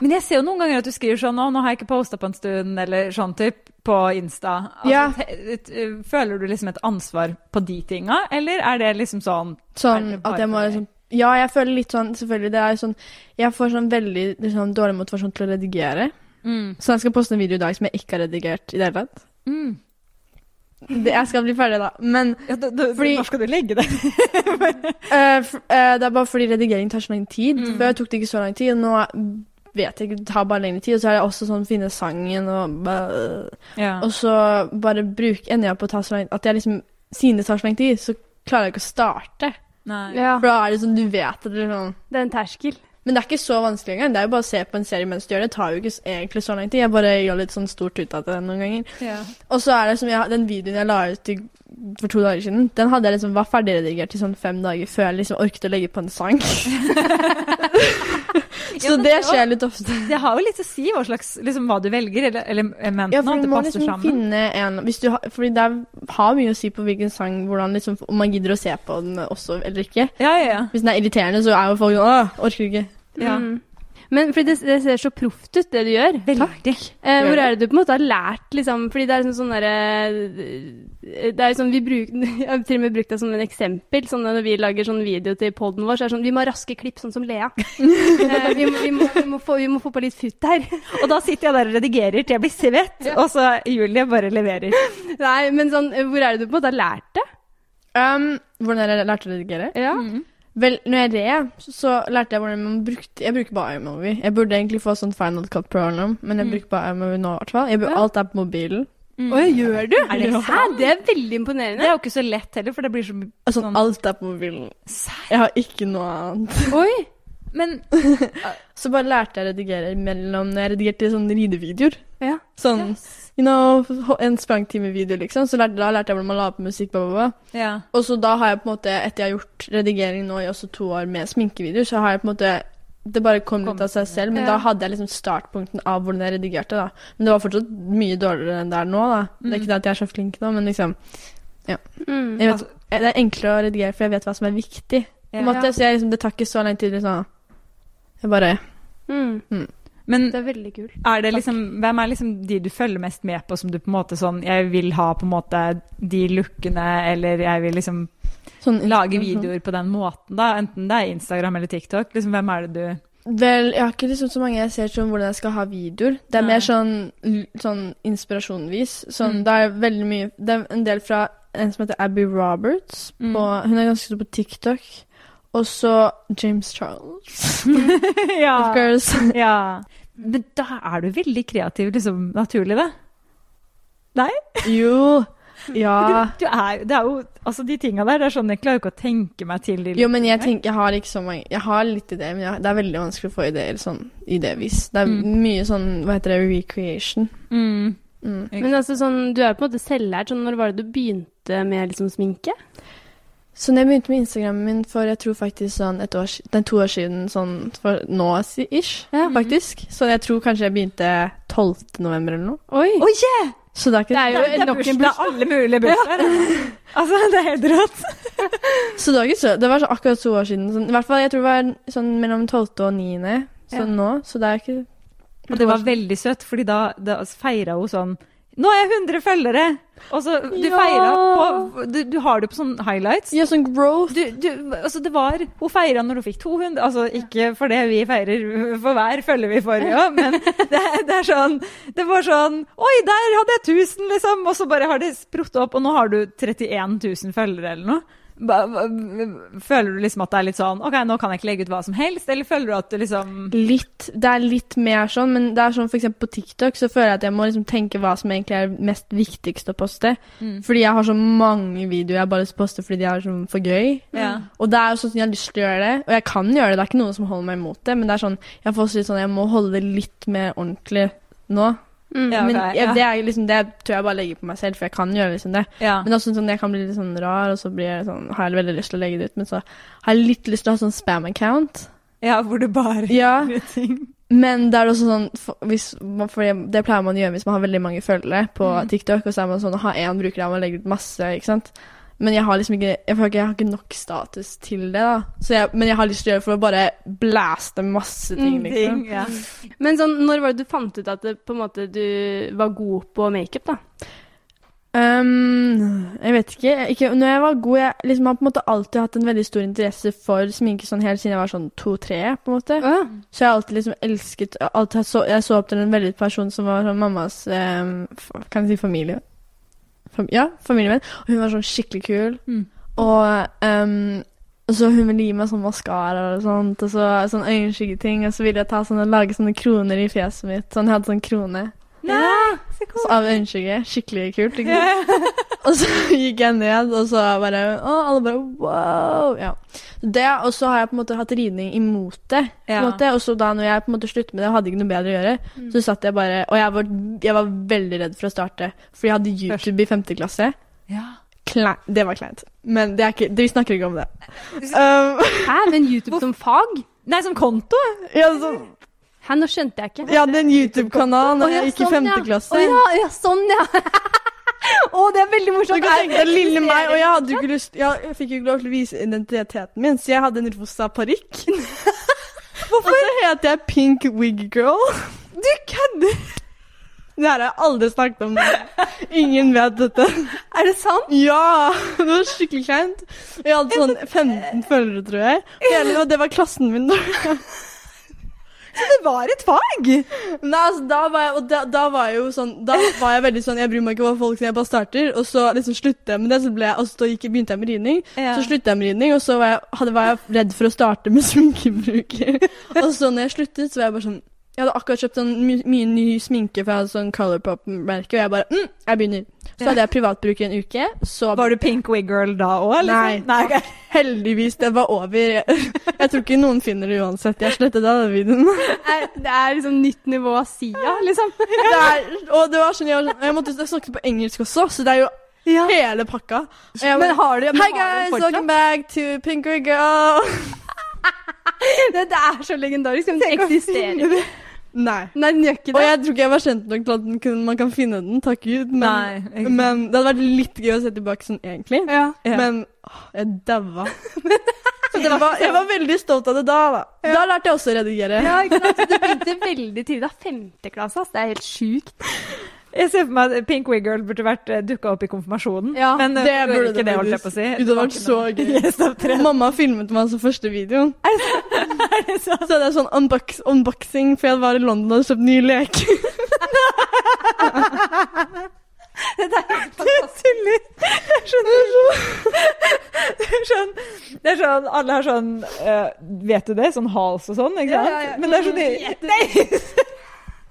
[SPEAKER 1] Men jeg ser jo noen ganger at du skriver sånn 'Å, nå har jeg ikke posta på en stund', eller sånn typ, på Insta. Altså,
[SPEAKER 3] Ja.
[SPEAKER 1] te- et- eh, Føler du liksom et ansvar på de tinga, eller er det liksom sånn
[SPEAKER 3] Sånn
[SPEAKER 1] Er det bare
[SPEAKER 3] at jeg må
[SPEAKER 1] for deg?
[SPEAKER 3] liksom Ja, jeg føler litt sånn Selvfølgelig, det er sånn Jeg får sånn veldig liksom, dårlig motivasjon til å redigere.
[SPEAKER 1] mm,
[SPEAKER 3] Så jeg skal poste en video i dag som jeg ikke har redigert i det hele tatt.
[SPEAKER 1] mm.
[SPEAKER 3] Det, jeg skal bli ferdig da. Men
[SPEAKER 1] Ja, da, da,
[SPEAKER 3] Fordi-
[SPEAKER 1] Når skal du legge det?
[SPEAKER 3] eh, f eh, det er bare fordi redigering tar så lang tid.
[SPEAKER 1] Mm.
[SPEAKER 3] Før tok det ikke så lang tid, og nå vet jeg ikke, det tar bare lengre tid. Og så er det også sånn finne sangen og bare-
[SPEAKER 1] Ja.
[SPEAKER 3] Og så bare bruk ender jeg på å ta så lang At jeg liksom Siden det tar så lang tid, så klarer jeg ikke å starte.
[SPEAKER 1] Nei.
[SPEAKER 2] Ja.
[SPEAKER 3] For da er det sånn, du vet at det er sånn
[SPEAKER 2] Det er en terskel.
[SPEAKER 3] Men det er ikke så vanskelig engang. Det er jo bare å se på en serie mens du gjør det. Det tar jo ikke s- egentlig så lang tid. Jeg bare gjør litt sånn stort ut av det noen ganger.
[SPEAKER 1] Ja.
[SPEAKER 3] Og så er det som jeg, den videoen jeg la ut i, for to dager siden, den hadde jeg liksom var ferdigredigert i sånn fem dager før jeg liksom orket å legge på en sang.
[SPEAKER 1] Ja,
[SPEAKER 3] så
[SPEAKER 1] men
[SPEAKER 3] det
[SPEAKER 1] det-
[SPEAKER 3] skjer litt ofte.
[SPEAKER 1] Det har jo litt å si hva slags, liksom, hva du velger, eller, eller elementen,
[SPEAKER 3] Ja, for
[SPEAKER 1] at
[SPEAKER 3] du
[SPEAKER 1] det
[SPEAKER 3] må
[SPEAKER 1] passer
[SPEAKER 3] liksom
[SPEAKER 1] sammen.
[SPEAKER 3] finne en hvis du har, Fordi det er- har mye å si på hvilken sang hvordan liksom, Om man gidder å se på den også eller ikke.
[SPEAKER 1] Ja, ja, ja.
[SPEAKER 3] Hvis den er irriterende, så er jo folk sånn Åh, orker ikke.
[SPEAKER 1] Ja.
[SPEAKER 2] Mm. Men fordi det, det ser så proft ut, det du gjør.
[SPEAKER 1] Veldig.
[SPEAKER 2] Eh, hvor
[SPEAKER 3] Ja.
[SPEAKER 2] er det du på en måte har lært, liksom? Fordi det er sånn sånn derre Det er jo sånn vi bruker Jeg har til og med brukt det som en eksempel. Sånn når vi lager sånn video til poden vår, så er det sånn Vi må ha raske klipp, sånn som Lea. eh, vi, må, vi, må, vi, må få, vi må få på litt futt her.
[SPEAKER 1] Og da sitter jeg der og redigerer til jeg blir svett, og så Julie bare leverer.
[SPEAKER 2] eh, Nei, men sånn Hvor er det du på en måte har lært det?
[SPEAKER 3] Um, hvordan har jeg lært å redigere?
[SPEAKER 2] Ja.
[SPEAKER 3] Vel, når jeg red, så, så lærte jeg hvordan man brukte Jeg bruker bare iMovie. Jeg burde egentlig få sånn Final Cut Pro eller noe, men jeg
[SPEAKER 1] Mm.
[SPEAKER 3] bruker bare iMovie nå. i hvert fall. Jeg bur-
[SPEAKER 2] Ja.
[SPEAKER 3] Alt er på mobilen.
[SPEAKER 1] Mm.
[SPEAKER 2] Oi, gjør du?
[SPEAKER 1] Er det
[SPEAKER 2] Hæ, det er veldig imponerende.
[SPEAKER 1] Det er jo ikke så lett heller, for det blir så mye
[SPEAKER 3] Altså,
[SPEAKER 1] Sånn.
[SPEAKER 3] alt er på mobilen.
[SPEAKER 1] Serr?
[SPEAKER 3] Jeg har ikke noe annet.
[SPEAKER 1] Oi! Men
[SPEAKER 3] Så bare lærte jeg å redigere mellom når jeg redigerte sånne ridevideoer.
[SPEAKER 2] Ja.
[SPEAKER 3] Sånn, you know, en sprangtime-video, liksom. Så lærte, da lærte jeg hvordan man la på musikk. Bla, bla, bla.
[SPEAKER 1] Ja.
[SPEAKER 3] Og så da har jeg på en måte, etter jeg har gjort redigering nå i også to år med sminkevideoer, så har jeg på en måte Det bare kom litt
[SPEAKER 1] Kom
[SPEAKER 3] av seg
[SPEAKER 1] til det.
[SPEAKER 3] selv, men
[SPEAKER 2] Ja.
[SPEAKER 3] da hadde jeg liksom startpunkten av hvordan jeg redigerte, da. Men det var fortsatt mye dårligere enn det er nå, da. Det er
[SPEAKER 1] Mm.
[SPEAKER 3] ikke det at jeg er så flink nå, men liksom
[SPEAKER 2] Mm.
[SPEAKER 3] jeg vet, eh, Det er enklere å redigere, for jeg vet hva som er viktig.
[SPEAKER 1] altså-
[SPEAKER 3] På
[SPEAKER 1] Ja.
[SPEAKER 3] en måte, Så jeg, liksom, det tar ikke så lang tid. Liksom. Jeg bare
[SPEAKER 2] Mm.
[SPEAKER 1] Men
[SPEAKER 2] Det er veldig kult.
[SPEAKER 1] er det liksom, hvem er liksom de du følger mest med på som du på en måte sånn Jeg vil ha på en måte de lookene, eller jeg vil liksom
[SPEAKER 3] sånn,
[SPEAKER 1] lage videoer på den måten, da. Enten det er Instagram eller TikTok. Liksom, hvem er det du
[SPEAKER 3] Vel, jeg har ikke liksom så mange jeg ser som hvordan jeg skal ha videoer. Det er
[SPEAKER 1] Nei.
[SPEAKER 3] mer sånn, l- sånn inspirasjonvis.
[SPEAKER 1] Mm.
[SPEAKER 3] Sånn, Det er veldig mye Det er en del fra en som heter Abby Roberts.
[SPEAKER 1] Mm.
[SPEAKER 3] På, hun er ganske stor på TikTok. Og så James Charles, of
[SPEAKER 1] ja.
[SPEAKER 3] course.
[SPEAKER 1] ja. Men da er du veldig kreativ, liksom, naturlig, da.
[SPEAKER 3] jo. Ja.
[SPEAKER 1] Du er, det er jo Altså, de tinga der, det er sånn Jeg klarer ikke å tenke meg til de
[SPEAKER 3] Jo, men jeg tenker Jeg har ikke så mange Jeg har litt ideer, men jeg, det er veldig vanskelig å få ideer sånn idévis. Det er
[SPEAKER 1] Mm.
[SPEAKER 3] mye sånn Hva heter det? Recreation.
[SPEAKER 1] mm.
[SPEAKER 3] Mm.
[SPEAKER 2] Men altså, sånn, du er på en måte selvlært. Sånn, når var det du begynte med liksom, sminke?
[SPEAKER 3] Så når jeg begynte med Instagrammen min for jeg tror faktisk sånn et år, si- nei, to år siden, sånn for nå si- ish,
[SPEAKER 1] Mhm.
[SPEAKER 2] Ja.
[SPEAKER 3] faktisk. Så jeg tror kanskje jeg begynte 12. november eller noe.
[SPEAKER 2] Oi!
[SPEAKER 1] Oi,
[SPEAKER 3] Så det er
[SPEAKER 2] Det
[SPEAKER 3] ikke,
[SPEAKER 2] er jo
[SPEAKER 1] Det er, det er,
[SPEAKER 2] nok en
[SPEAKER 1] bursdag, det er alle mulige bursdager. Altså, det er helt rått.
[SPEAKER 3] så det var ikke så, det var så akkurat to år siden. Sånn, I hvert fall jeg tror det var sånn mellom 12. og 9. Sånn nå, så det er ikke
[SPEAKER 1] Og det var veldig søtt, fordi da, da feira hun sånn Nå er jeg 100 følgere! Og så Du
[SPEAKER 3] Ja.
[SPEAKER 1] feira på du, du har det på sånne highlights.
[SPEAKER 3] Ja, sånn growth.
[SPEAKER 1] Du, du, altså det var, hun feira når hun fikk 200 Altså ikke for det vi feirer for hver følger vi for, ja, men det, er- det er sånn Det var sånn Oi, der hadde jeg 1000, liksom! Og så bare har det sprutt opp, og nå har du 31 000 følgere eller noe. Ba- ba- Føler du liksom at det er litt sånn OK, nå kan jeg ikke legge ut hva som helst, eller føler du at du liksom
[SPEAKER 3] Litt, det er litt mer sånn, men det er sånn for eksempel på TikTok så føler jeg at jeg må liksom tenke hva som egentlig er mest viktigst å poste.
[SPEAKER 1] Mm.
[SPEAKER 3] Fordi jeg har så mange videoer jeg bare poster fordi de er sånn for gøy.
[SPEAKER 1] Ja.
[SPEAKER 3] Og det er jo sånn at jeg har lyst til å gjøre det, og jeg kan gjøre det. Det er ikke noen som holder meg imot det, men det er sånn, jeg får også litt sånn, jeg må holde det litt mer ordentlig nå.
[SPEAKER 2] Mm.
[SPEAKER 1] Ja, ok,
[SPEAKER 3] men jeg,
[SPEAKER 1] ja.
[SPEAKER 3] det er liksom det tror jeg bare legger på meg selv, for jeg kan gjøre liksom det.
[SPEAKER 1] Ja.
[SPEAKER 3] Men det er også sånn, jeg kan bli litt sånn rar, og så blir jeg sånn, har jeg veldig lyst til å legge det ut, men så har jeg litt lyst til å ha sånn spam-account.
[SPEAKER 1] ja, hvor du bare
[SPEAKER 3] Ja,
[SPEAKER 1] gjør ting.
[SPEAKER 3] men det er også sånn, for, hvis man, for det, det pleier man å gjøre hvis man har veldig mange følgere på
[SPEAKER 1] Mm.
[SPEAKER 3] TikTok, og så er man sånn, å ha én bruker der man legger ut masse, ikke sant? Men jeg har liksom ikke Jeg føler ikke jeg har ikke nok status til det, da. Så jeg, men jeg har lyst til å gjøre det for å bare blaste masse ting,
[SPEAKER 2] Mm,
[SPEAKER 3] liksom.
[SPEAKER 1] Ting, ja.
[SPEAKER 2] Men sånn, når var det du fant ut at det, på en måte, du var god på makeup, da?
[SPEAKER 3] Um, jeg vet ikke, jeg- ikke Når jeg var god Jeg liksom har på en måte alltid hatt en veldig stor interesse for sminke sånn helt siden jeg var sånn to-tre, på en måte.
[SPEAKER 2] Å,
[SPEAKER 3] Så jeg har alltid liksom elsket alltid, har så, Jeg så opp til en veldig person som var sånn mammas em, f- Kan jeg si familie? Fam, ja, familievenn. Og hun var sånn skikkelig kul.
[SPEAKER 1] Mm.
[SPEAKER 3] Og em, og så hun ville gi meg sånn maskara og sånt, og så sånn øyenskyggeting. Og så ville jeg ta sånne, lage sånne kroner i fjeset mitt. Sånn, jeg hadde sånn krone
[SPEAKER 1] Nei, så
[SPEAKER 3] så,
[SPEAKER 1] cool.
[SPEAKER 3] av øyenskygge. Skikkelig kult. Ikke? sant?
[SPEAKER 1] Ja.
[SPEAKER 3] Og så gikk jeg ned, og så bare Å, alle bare wow. Ja. Det, og så har jeg på en måte hatt ridning imot det. på en
[SPEAKER 1] Ja.
[SPEAKER 3] måte, Og så da når jeg på en måte sluttet med det, og hadde ikke noe bedre å gjøre,
[SPEAKER 2] Mm.
[SPEAKER 3] så satt jeg bare Og jeg var, jeg var veldig redd for å starte, fordi jeg hadde YouTube i femte klasse.
[SPEAKER 1] Ja.
[SPEAKER 3] Klei- det var kleint. Men det er ikke, det, vi snakker ikke om det. Um,
[SPEAKER 2] Hæ, men YouTube som fag?
[SPEAKER 1] Nei, som konto?
[SPEAKER 3] ja, så,
[SPEAKER 2] Hæ, nå skjønte jeg ikke.
[SPEAKER 3] sånn, jeg hadde en YouTube-kanal da
[SPEAKER 2] Å, ja,
[SPEAKER 3] jeg gikk i
[SPEAKER 2] sånn, ja.
[SPEAKER 3] femte klasse.
[SPEAKER 2] Å ja, ja, sånn, ja. Å, det er veldig
[SPEAKER 3] Så du
[SPEAKER 2] morsomt.
[SPEAKER 3] kan tenke deg lille meg, og jeg hadde jo ikke lyst Jeg jeg fikk jo ikke lov til å vise identiteten min, så jeg hadde en rosa parykk. Hvorfor? Og så heter jeg Pink Wig Girl. Du kødder! Det her har jeg aldri snakket om. Ingen vet dette.
[SPEAKER 2] Er det sant?
[SPEAKER 3] Ja! Det var skikkelig kleint. Jeg hadde sånn 15 følgere, tror jeg. Og hele- Og det var klassen min, da.
[SPEAKER 1] Så det var et fag!
[SPEAKER 3] Nei, altså, da var jeg, og da, da var jeg jo sånn Da var jeg veldig sånn Jeg bryr meg ikke hva folk sier, jeg bare starter. Og så liksom sluttet jeg med det, så ble jeg, og så gikk, jeg- begynte jeg med ridning.
[SPEAKER 1] Ja.
[SPEAKER 3] Så sluttet jeg med ridning, og så var jeg, hadde, var jeg redd for å starte med sminkebruk. og så når jeg sluttet, så var jeg bare sånn Jeg hadde akkurat kjøpt sånn my, mye ny sminke, for jeg hadde sånn Colourpop-merke, og jeg bare mm, Jeg begynner. Så hadde jeg privatbruk i en uke. Så
[SPEAKER 1] Var du pink wig girl da òg?
[SPEAKER 3] Nei.
[SPEAKER 1] Nei ok.
[SPEAKER 3] heldigvis, det var over. Jeg, jeg tror ikke noen finner det uansett. Jeg slettet den videoen.
[SPEAKER 2] Det er, det er liksom nytt nivå av Sia, liksom.
[SPEAKER 3] Det er, og det var sånn, jeg, var sånn, jeg måtte jeg snakket på engelsk også, så det er jo hele pakka. Og jeg var- sånn,
[SPEAKER 2] Men har du men
[SPEAKER 3] Hi
[SPEAKER 2] har
[SPEAKER 3] guys,
[SPEAKER 2] du fortsatt?
[SPEAKER 3] welcome back to Pinker Girl.
[SPEAKER 2] Det, det er så legendarisk. men Den eksisterer. ikke.
[SPEAKER 3] Nei.
[SPEAKER 2] Nei, den gjør ikke
[SPEAKER 3] Og
[SPEAKER 2] det.
[SPEAKER 3] jeg tror ikke jeg var kjent nok til at den kunne, man kan finne den, takk Gud. Men,
[SPEAKER 1] Nei, ikke.
[SPEAKER 3] men det hadde vært litt gøy å se tilbake sånn egentlig.
[SPEAKER 2] Ja.
[SPEAKER 1] Ja.
[SPEAKER 3] Men åh, jeg daua. Så det var, jeg var veldig stolt av det da. Da, da lærte jeg også å redigere.
[SPEAKER 2] Ja, ikke sant? Så Du begynte veldig tidlig. Da femte klasse, ass. Det er helt sjukt.
[SPEAKER 1] Jeg ser for meg at pink wig girl burde vært dukka opp i konfirmasjonen.
[SPEAKER 2] Ja,
[SPEAKER 1] men eh,
[SPEAKER 3] det burde
[SPEAKER 1] ikke
[SPEAKER 3] det
[SPEAKER 1] det, holdt jeg
[SPEAKER 3] faktisk.
[SPEAKER 1] på å si.
[SPEAKER 3] Det hadde vært så gøy.
[SPEAKER 1] Gjesteopptreden.
[SPEAKER 3] Mamma filmet meg altså første videoen. Så hadde jeg sånn unbox unboxing, for jeg var i London og hadde kjøpt nye leker.
[SPEAKER 1] Du tuller! Jeg skjønner. Det er sånn, det er sånn Alle har sånn eh, Vet du det? Sånn hals og sånn, ikke sant?
[SPEAKER 2] Ja, ja, ja.
[SPEAKER 1] Men det er sånn
[SPEAKER 2] Vet
[SPEAKER 1] Nei!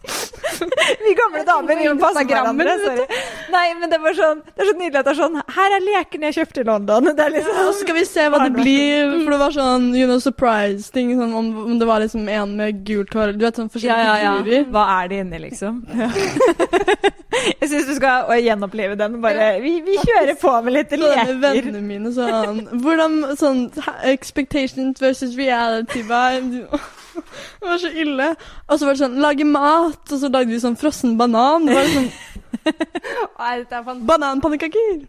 [SPEAKER 1] Vi gamle damer vi må passe på
[SPEAKER 2] Instagrammen,
[SPEAKER 1] hverandre. Sorry. Nei, men det, var sånn, det er så nydelig at det er sånn Her er lekene jeg kjøpte i London. Det er
[SPEAKER 3] Og så
[SPEAKER 1] liksom
[SPEAKER 3] skal vi se hva det blir, for det var sånn you know, surprise-ting. Sånn, om, om det var liksom en med gult hår Du vet sånn forskjellige figurer.
[SPEAKER 1] Hva er det inni, liksom? Jeg syns du skal eh, gjenoppleve den. Bare, vi, vi kjører på med litt
[SPEAKER 3] Så det med
[SPEAKER 1] leker.
[SPEAKER 3] vennene mine sånn Hvordan sånn ha- Expectations versus reality vibe. Det var så ille. Og så var det sånn lage mat, og så lagde vi sånn frossen banan. Det var sånn
[SPEAKER 2] Nei, dette er fan-
[SPEAKER 3] bananpannekaker.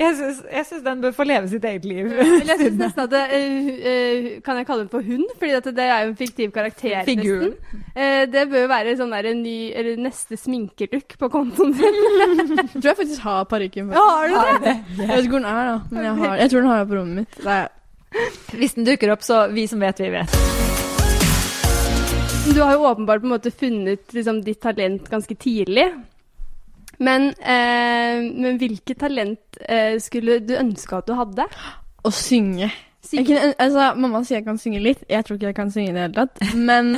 [SPEAKER 1] Jeg syns- jeg syns den bør få leve sitt eget liv.
[SPEAKER 2] Eller jeg synes nesten at det, eh, eh, Kan jeg kalle den for hun? Fordi at det er jo en fiktiv karakter.
[SPEAKER 1] Figur.
[SPEAKER 2] nesten. Eh, det bør jo være sånn der en ny, eller neste sminkelook på kontoen din.
[SPEAKER 3] Jeg tror jeg faktisk har parykken. faktisk.
[SPEAKER 1] Har du det?
[SPEAKER 3] Jeg vet ikke hvor den er, da. Men jeg, har, jeg tror den har jeg på rommet mitt. Nei.
[SPEAKER 1] Hvis den dukker opp, så vi som vet, vi vet.
[SPEAKER 2] Du har jo åpenbart på en måte funnet liksom, ditt talent ganske tidlig. Men, eh, men hvilket talent eh, skulle du ønske at du hadde?
[SPEAKER 3] Å synge. Jeg kunne, øn- altså, mamma sier jeg kan synge litt. Jeg tror ikke jeg kan synge i det hele tatt. Men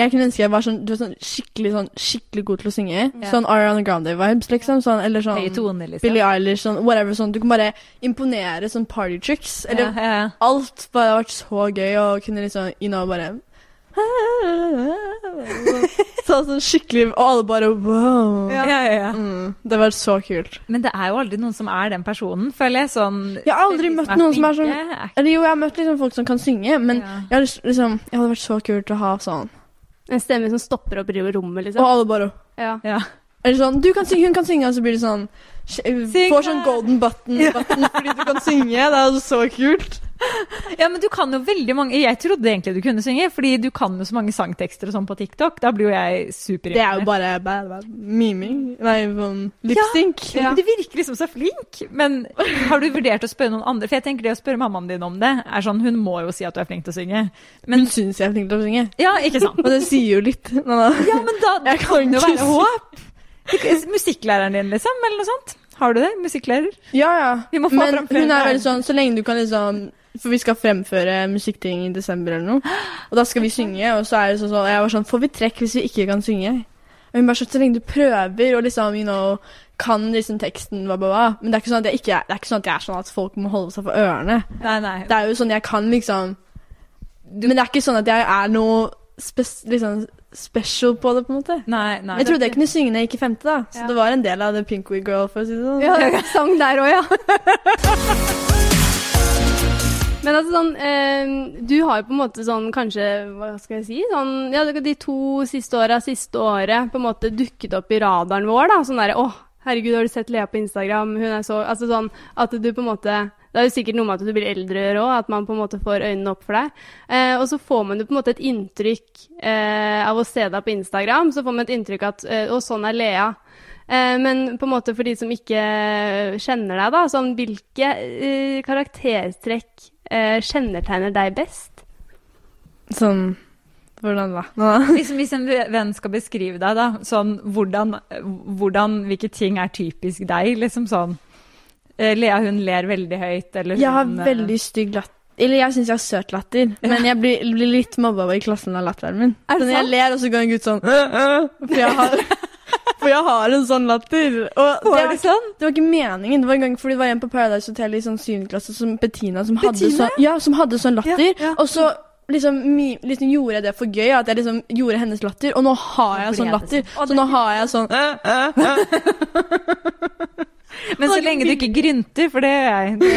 [SPEAKER 3] jeg kunne ønske jeg var sånn, du vet, sånn, skikkelig, sånn skikkelig god til å synge. Sånn Ariana Grande-vibes, liksom. Sånn, eller sånn
[SPEAKER 1] Høye toner, liksom.
[SPEAKER 3] Billie Eilish, sånn whatever. Sånn. Du kan bare imponere sånn party tricks. Eller
[SPEAKER 1] ja, ja.
[SPEAKER 3] alt. Bare det har vært så gøy å kunne liksom you know, bare Så, sånn skikkelig Og alle bare wow.
[SPEAKER 1] Ja. Ja, ja, ja.
[SPEAKER 3] Mm, det var så kult.
[SPEAKER 1] Men det er jo aldri noen som er den personen, føler jeg. Sånn
[SPEAKER 3] Jeg har aldri møtt noen som er sånn
[SPEAKER 1] Ja,
[SPEAKER 3] Eller jo, jeg har møtt liksom folk som kan synge, men
[SPEAKER 1] Ja.
[SPEAKER 3] jeg, har lyst- liksom, jeg hadde vært så kult å ha sånn.
[SPEAKER 2] En stemme som stopper opp i rommet,
[SPEAKER 3] Og
[SPEAKER 2] liksom.
[SPEAKER 3] alle bare
[SPEAKER 2] Ja.
[SPEAKER 1] ja.
[SPEAKER 3] Eller sånn Du kan synge, hun kan synge, og så blir det sånn
[SPEAKER 1] Syng,
[SPEAKER 3] Syng, Får sånn
[SPEAKER 1] da!
[SPEAKER 3] golden button, button fordi du kan synge. Det er jo så kult.
[SPEAKER 1] ja, men du kan jo veldig mange Jeg trodde egentlig du kunne synge, fordi du kan jo så mange sangtekster og sånn på TikTok. Da blir jo jeg
[SPEAKER 3] Det er jo
[SPEAKER 1] superimponert.
[SPEAKER 3] bare bad, bad. miming. Nei, sånn lipsync.
[SPEAKER 1] Ja. Du virker liksom så flink, men har du vurdert å spørre noen andre? For jeg tenker det å spørre mammaen din om det, er sånn Hun må jo si at du er flink til å synge.
[SPEAKER 3] Men hun syns jeg er flink til å synge.
[SPEAKER 1] Ja, ikke sant?
[SPEAKER 3] Og det sier jo litt. Nei, nei.
[SPEAKER 1] Ja, men da det
[SPEAKER 3] Jeg kan
[SPEAKER 1] kan jo
[SPEAKER 3] ikke
[SPEAKER 1] være
[SPEAKER 3] si-
[SPEAKER 1] håp. Ikke- Musikklæreren din, liksom, eller noe sånt. Har du det? Musikklærer?
[SPEAKER 3] Ja, ja.
[SPEAKER 1] Vi må få
[SPEAKER 3] Men
[SPEAKER 1] fram flere
[SPEAKER 3] hun er
[SPEAKER 1] barn.
[SPEAKER 3] veldig sånn Så lenge du kan liksom For vi skal fremføre musikkting i desember eller noe. Og da skal vi synge, og så er det sånn sånn Jeg var sånn Får vi trekk hvis vi ikke kan synge? Og hun bare sånn Så lenge du prøver og liksom, you know kan liksom teksten, hva, hva, hva. Men det er, ikke sånn at jeg ikke, er- det er ikke sånn at jeg er sånn at folk må holde seg for ørene.
[SPEAKER 1] Nei, nei.
[SPEAKER 3] Det er jo sånn jeg kan liksom Men det er ikke sånn at jeg er noe spes, liksom special på det, på en måte.
[SPEAKER 1] Nei, nei.
[SPEAKER 3] Jeg trodde jeg kunne synge når jeg gikk i femte, da. Så
[SPEAKER 2] Ja.
[SPEAKER 3] det var en del av The Pinkwee Girl, for å si det sånn.
[SPEAKER 2] Ja, det er sang der òg, ja. Men altså sånn, eh, du har jo på en måte sånn kanskje, hva skal jeg si, sånn, ja, det- de to siste åra, siste året, på en måte dukket opp i radaren vår, da, sånn derre, åh, herregud, har du sett Lea på Instagram, hun er så, altså sånn, at du på en måte, det er jo sikkert noe med at du blir eldre òg, at man på en måte får øynene opp for deg. Eh, og så får man jo på en måte et inntrykk eh, av å se deg på Instagram, så får man et inntrykk av at, eh, og sånn er Lea. Eh, Men på en måte for de som ikke kjenner deg, da, sånn, hvilke eh, karaktertrekk eh, kjennetegner deg best?
[SPEAKER 3] Sånn Hvordan da? Nå.
[SPEAKER 1] Hvis, hvis en venn skal beskrive deg, da, sånn hvordan, hvordan Hvilke ting er typisk deg? Liksom sånn eh, Lea, hun ler veldig høyt, eller hun
[SPEAKER 3] Jeg har
[SPEAKER 1] eh,
[SPEAKER 3] veldig stygg latter. Eller jeg syns jeg har søt latter, men jeg blir, blir litt mobba i klassen av latteren min.
[SPEAKER 1] Er det
[SPEAKER 3] Sånn, jeg
[SPEAKER 1] sant?
[SPEAKER 3] ler, og så går en gutt sånn «Øh, øh», For jeg har, for jeg har en sånn latter. Og det,
[SPEAKER 1] Var det sånn?
[SPEAKER 3] Det var ikke meningen. Det var en gang fordi det var en på Paradise Hotel i sånn syvende klasse som Bettina som hadde,
[SPEAKER 1] Bettina?
[SPEAKER 3] sånn, ja, som hadde sånn latter.
[SPEAKER 1] Ja, ja.
[SPEAKER 3] Og så liksom, mi, liksom gjorde jeg det for gøy, at jeg liksom gjorde hennes latter. Og nå har jeg
[SPEAKER 1] Nå ble
[SPEAKER 3] sånn
[SPEAKER 1] det
[SPEAKER 3] latter. Så nå har jeg sånn
[SPEAKER 1] Men så lenge du ikke grynter, for det gjør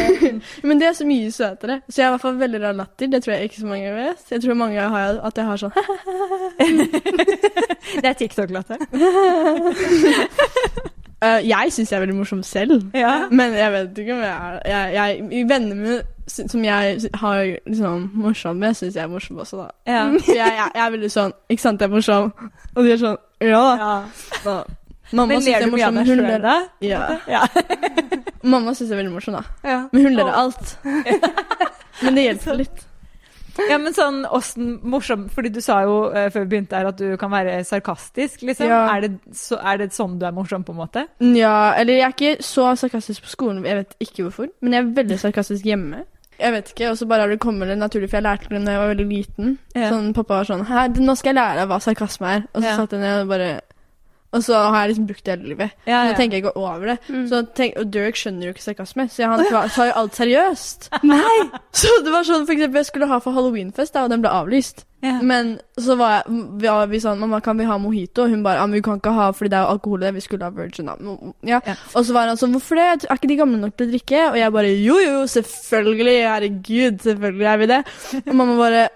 [SPEAKER 1] jeg. Det-
[SPEAKER 3] Men det er så mye søtere. Så jeg har i hvert fall veldig rar latter. Det tror jeg ikke så mange vet. Jeg tror mange har at jeg har sånn
[SPEAKER 1] Det er TikTok-latter.
[SPEAKER 3] Eh, Jeg syns jeg er veldig morsom selv.
[SPEAKER 1] Ja.
[SPEAKER 3] Men jeg vet ikke om jeg er jeg, jeg, i Venner med, som jeg har liksom morsom med, syns jeg er morsom også, da.
[SPEAKER 1] Ja.
[SPEAKER 3] For jeg, jeg, jeg er veldig sånn Ikke sant, jeg er morsom? Og de er sånn Ja da.
[SPEAKER 1] ja.
[SPEAKER 3] da. Mamma
[SPEAKER 1] Men
[SPEAKER 3] syns jeg
[SPEAKER 1] ler
[SPEAKER 3] er
[SPEAKER 1] du mye av
[SPEAKER 3] morsom.
[SPEAKER 1] deg
[SPEAKER 3] Hun
[SPEAKER 1] sjøl
[SPEAKER 3] ler
[SPEAKER 1] da?
[SPEAKER 3] ja.
[SPEAKER 1] Ja.
[SPEAKER 3] Mamma syns jeg er veldig morsom, da.
[SPEAKER 1] ja.
[SPEAKER 3] Men hun ler av alt. Men det hjelper litt.
[SPEAKER 1] Ja, men sånn åssen morsom Fordi du sa jo eh, før vi begynte her at du kan være sarkastisk, liksom.
[SPEAKER 3] Ja.
[SPEAKER 1] Er, det, så, er det sånn du er morsom, på en måte?
[SPEAKER 3] Ja, eller jeg er ikke så sarkastisk på skolen, jeg vet ikke hvorfor. Men jeg er veldig sarkastisk hjemme. Jeg vet ikke, og så bare har det kommet det naturlig, for jeg lærte det da jeg var veldig liten.
[SPEAKER 1] Ja.
[SPEAKER 3] Sånn, Pappa var sånn Hæ, nå skal jeg lære deg hva sarkasme er. Og så
[SPEAKER 1] Ja.
[SPEAKER 3] satt jeg ned og bare Og så har jeg liksom brukt det hele livet.
[SPEAKER 1] Ja,
[SPEAKER 3] Nå tenker jeg ikke over det.
[SPEAKER 2] Mm.
[SPEAKER 3] Så tenk, og Derek skjønner jo ikke sarkasme, så han tar tar jo alt seriøst.
[SPEAKER 1] Nei!
[SPEAKER 3] Så det var sånn, for eksempel, jeg skulle ha for halloweenfest, da, og den ble avlyst.
[SPEAKER 1] Ja.
[SPEAKER 3] Men så var, jeg, var vi sånn Mamma, kan vi ha mojito? Hun bare Ja, men vi kan ikke ha fordi det er jo alkohol i det. Vi skulle ha virgin. Da. Mo- Ja.
[SPEAKER 1] Ja.
[SPEAKER 3] Og så var han sånn Hvorfor det? Er ikke de gamle nok til å drikke? Og jeg bare Jo, jo, selvfølgelig. Herregud, selvfølgelig er vi det. Og mamma bare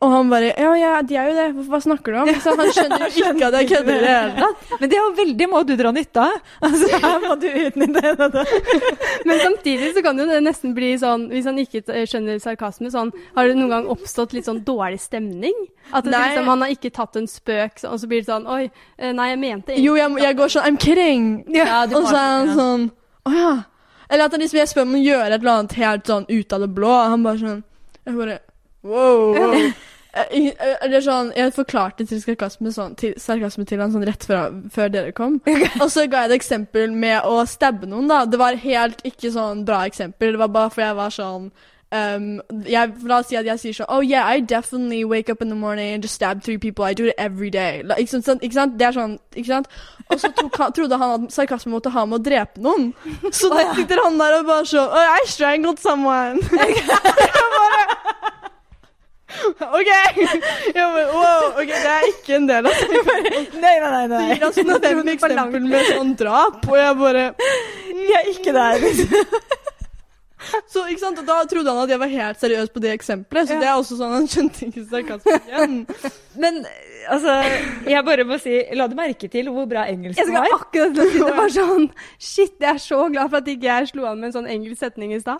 [SPEAKER 3] Og han bare Ja, ja, de er jo det. Hvorfor, hva snakker du om? Så han skjønner jo ikke at jeg kødder i det hele tatt.
[SPEAKER 1] Men det er jo veldig må du dra nytte av. Altså, her må du utnytte det.
[SPEAKER 2] Men samtidig så kan jo det nesten bli sånn, hvis han ikke eh, skjønner sarkasme, sånn Har det noen gang oppstått litt sånn dårlig stemning? At det,
[SPEAKER 3] Nei.
[SPEAKER 2] liksom, han har ikke tatt en spøk, så- og så blir det sånn Oi, eh, nei, jeg mente egentlig
[SPEAKER 3] Jo, jeg, jeg går sånn I'm kidding.
[SPEAKER 1] Ja, du
[SPEAKER 3] og så
[SPEAKER 1] får
[SPEAKER 3] er han
[SPEAKER 1] det, ja.
[SPEAKER 3] sånn Å ja. Eller at han liksom, jeg spør om å gjøre et eller annet helt sånn ut av det blå, og han bare sånn Jeg bare Wow. wow. Jeg- jeg- Eller sånn, Jeg forklarte til sarkasme, sånn, til, sarkasme til han sånn rett før, før dere kom. Og så ga jeg et eksempel med å stabbe noen. da. Det var helt ikke sånn bra eksempel. Det var bare for jeg var sånn Um, jeg, la oss si at jeg sier sånn Oh yeah, I definitely wake up in the morning and just stab three people. I do it every day. La, ikke, sant, ikke sant? Det er sånn, ikke sant? Og så tok, han, trodde han at sarkasme måtte ha med å drepe noen. Så da sitter han der og bare sånn oh, I strangled someone. jeg bare OK. Jeg bare, wow, ok, Det er ikke en del av det.
[SPEAKER 1] Nei, nei, nei.
[SPEAKER 3] Så gir han sånn et eksempel med sånn drap, og jeg bare «Mm,
[SPEAKER 1] Vi er ikke der.
[SPEAKER 3] Så, ikke sant? Og da trodde han at jeg var helt seriøs på det eksempelet, så
[SPEAKER 1] Ja.
[SPEAKER 3] det er også sånn han skjønte ikke sarkasme igjen.
[SPEAKER 1] Men altså, jeg bare må si La du merke til hvor bra
[SPEAKER 2] Jeg
[SPEAKER 1] engelsken
[SPEAKER 2] skal
[SPEAKER 1] var?
[SPEAKER 2] akkurat til å si det. Bare sånn Shit, jeg er så glad for at ikke jeg slo an med en sånn engelsk setning i stad.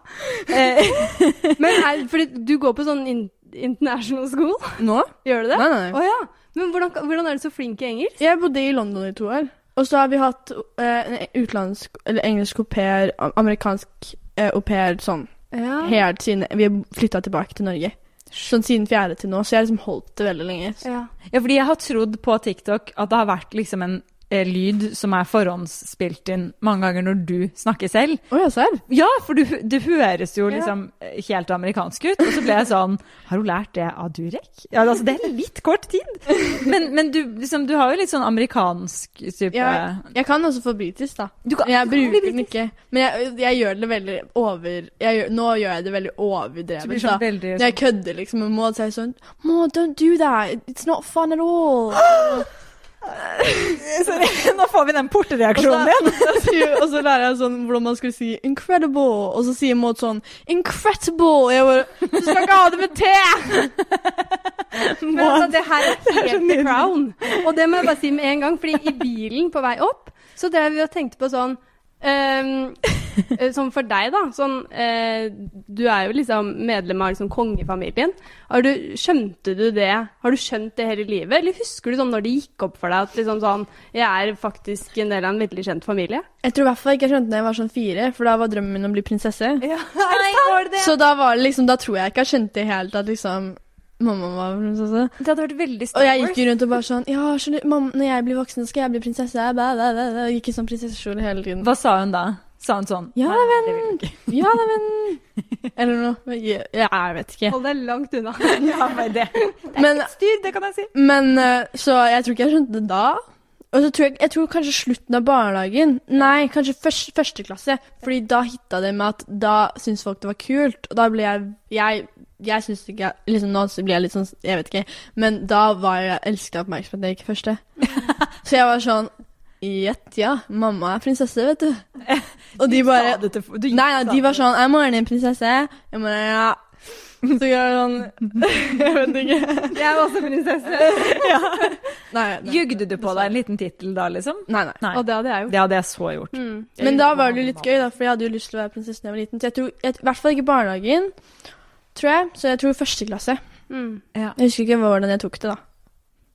[SPEAKER 2] Eh, Men er, fordi du går på sånn in international school,
[SPEAKER 3] Nå?
[SPEAKER 2] gjør du det?
[SPEAKER 3] Nei, nei.
[SPEAKER 2] Å ja. Men hvordan, kan- hvordan er du så flink i engelsk?
[SPEAKER 3] Jeg bodde i London i to år, og så har vi hatt eh, en utenlandsk, eller engelsk au pair, am- amerikansk eh, au pair sånn,
[SPEAKER 1] Ah.
[SPEAKER 2] Ja.
[SPEAKER 3] helt siden vi flytta tilbake til Norge. Sånn siden fjerde til nå, så jeg har liksom holdt det veldig lenge.
[SPEAKER 2] ja.
[SPEAKER 1] Ja, fordi jeg har trodd på TikTok at det har vært liksom en eh, lyd som er forhåndsspilt inn mange ganger når du snakker selv.
[SPEAKER 3] Å, ja, serr?
[SPEAKER 1] Ja, for du, du høres jo
[SPEAKER 2] Ja.
[SPEAKER 1] liksom eh, helt amerikansk ut. Og så ble jeg sånn Har hun lært det av Durek? Ja, altså, det er litt kort tid. Men, men du, liksom, du har jo litt sånn amerikansk type
[SPEAKER 3] Ja, jeg kan også få britisk, da.
[SPEAKER 1] Du kan-
[SPEAKER 3] Men
[SPEAKER 1] du kan
[SPEAKER 3] jeg
[SPEAKER 1] bli
[SPEAKER 3] bruker den ikke. Men jeg, jeg gjør det veldig over... Jeg gjør, nå gjør jeg det veldig
[SPEAKER 1] Du blir
[SPEAKER 3] overdrevet,
[SPEAKER 1] sånn
[SPEAKER 3] da.
[SPEAKER 1] veldig
[SPEAKER 3] Når jeg kødder liksom med Maud, så er jeg sånn Maud, don't do that. It's not fun at all.
[SPEAKER 1] Sorry, Nå får vi den
[SPEAKER 3] Og så,
[SPEAKER 1] portereaksjonen din.
[SPEAKER 3] og så- og så lærer jeg sånn hvordan man skulle si 'incredible', og så sier Maud sånn 'incredible'. Og jeg bare Du skal ikke ha det med te!
[SPEAKER 2] Men altså, det her er helt the crown. Og det må jeg bare si med en gang, fordi i bilen på vei opp, så drev vi og tenkte på sånn ehm, eh, Som for deg, da. Sånn, eh, du er jo liksom medlem av liksom kongefamilien. Har du, skjønte du det? Har du skjønt det hele livet? Eller husker du sånn når det gikk opp for deg at liksom sånn Jeg er faktisk en del av en veldig kjent familie.
[SPEAKER 3] Jeg tror i hvert fall ikke jeg skjønte det da jeg var sånn fire, for da var drømmen min å bli prinsesse.
[SPEAKER 1] Nei, var det det?
[SPEAKER 3] Så da var det liksom, da tror jeg ikke jeg skjønte det helt at liksom Mamma var prinsesse.
[SPEAKER 1] Det hadde vært veldig
[SPEAKER 3] Og
[SPEAKER 1] Star
[SPEAKER 3] jeg
[SPEAKER 1] Wars.
[SPEAKER 3] gikk jo rundt og bare sånn Ja, skjønner, mamma, når jeg blir voksen, skal jeg bli prinsesse. Bæ, bæ, bæ, bæ. Og Gikk i sånn prinsessekjole hele tiden.
[SPEAKER 1] Hva sa hun da? Sa hun sånn
[SPEAKER 3] Ja,
[SPEAKER 1] «Nei, det vil jeg ikke».
[SPEAKER 3] Ja da, men Eller noe. Men Jeg, jeg vet ikke.
[SPEAKER 2] Hold deg langt unna.
[SPEAKER 1] Ja, bare det.
[SPEAKER 3] Men,
[SPEAKER 1] Styr, det kan jeg si.
[SPEAKER 3] men eh, Så jeg tror ikke jeg skjønte det da. Og så tror jeg, jeg tror kanskje slutten av barnehagen. Nei, kanskje først, første klasse. Fordi da hitta det med at da syntes folk det var kult. Og da ble jeg Jeg, jeg syns ikke jeg liksom Nå så blir jeg litt sånn Jeg vet ikke. Men da var jeg elska oppmerksomhet da jeg gikk i første. Så jeg var sånn Jett, ja. Mamma er prinsesse, vet du. Og de bare
[SPEAKER 1] Sa det til, du,
[SPEAKER 3] Nei, nei, de var sånn 'Er moren din prinsesse?' Jeg bare ja. Så jeg var sånn Jeg vet ikke.
[SPEAKER 1] Jeg er også prinsesse.
[SPEAKER 3] sånn- Nei, nei.
[SPEAKER 1] Jugde du på deg en liten tittel da, liksom?
[SPEAKER 3] nei, nei.
[SPEAKER 1] Nei.
[SPEAKER 2] Og det hadde jeg gjort.
[SPEAKER 1] Det hadde jeg så gjort.
[SPEAKER 2] Mm.
[SPEAKER 3] Men da var det jo litt gøy, da, for jeg hadde jo lyst til å være prinsesse da jeg var liten. Så jeg tror, jeg, I hvert fall ikke barnehagen, tror jeg. Så jeg tror første klasse.
[SPEAKER 2] Mm.
[SPEAKER 3] Jeg husker ikke hvordan jeg tok det, da.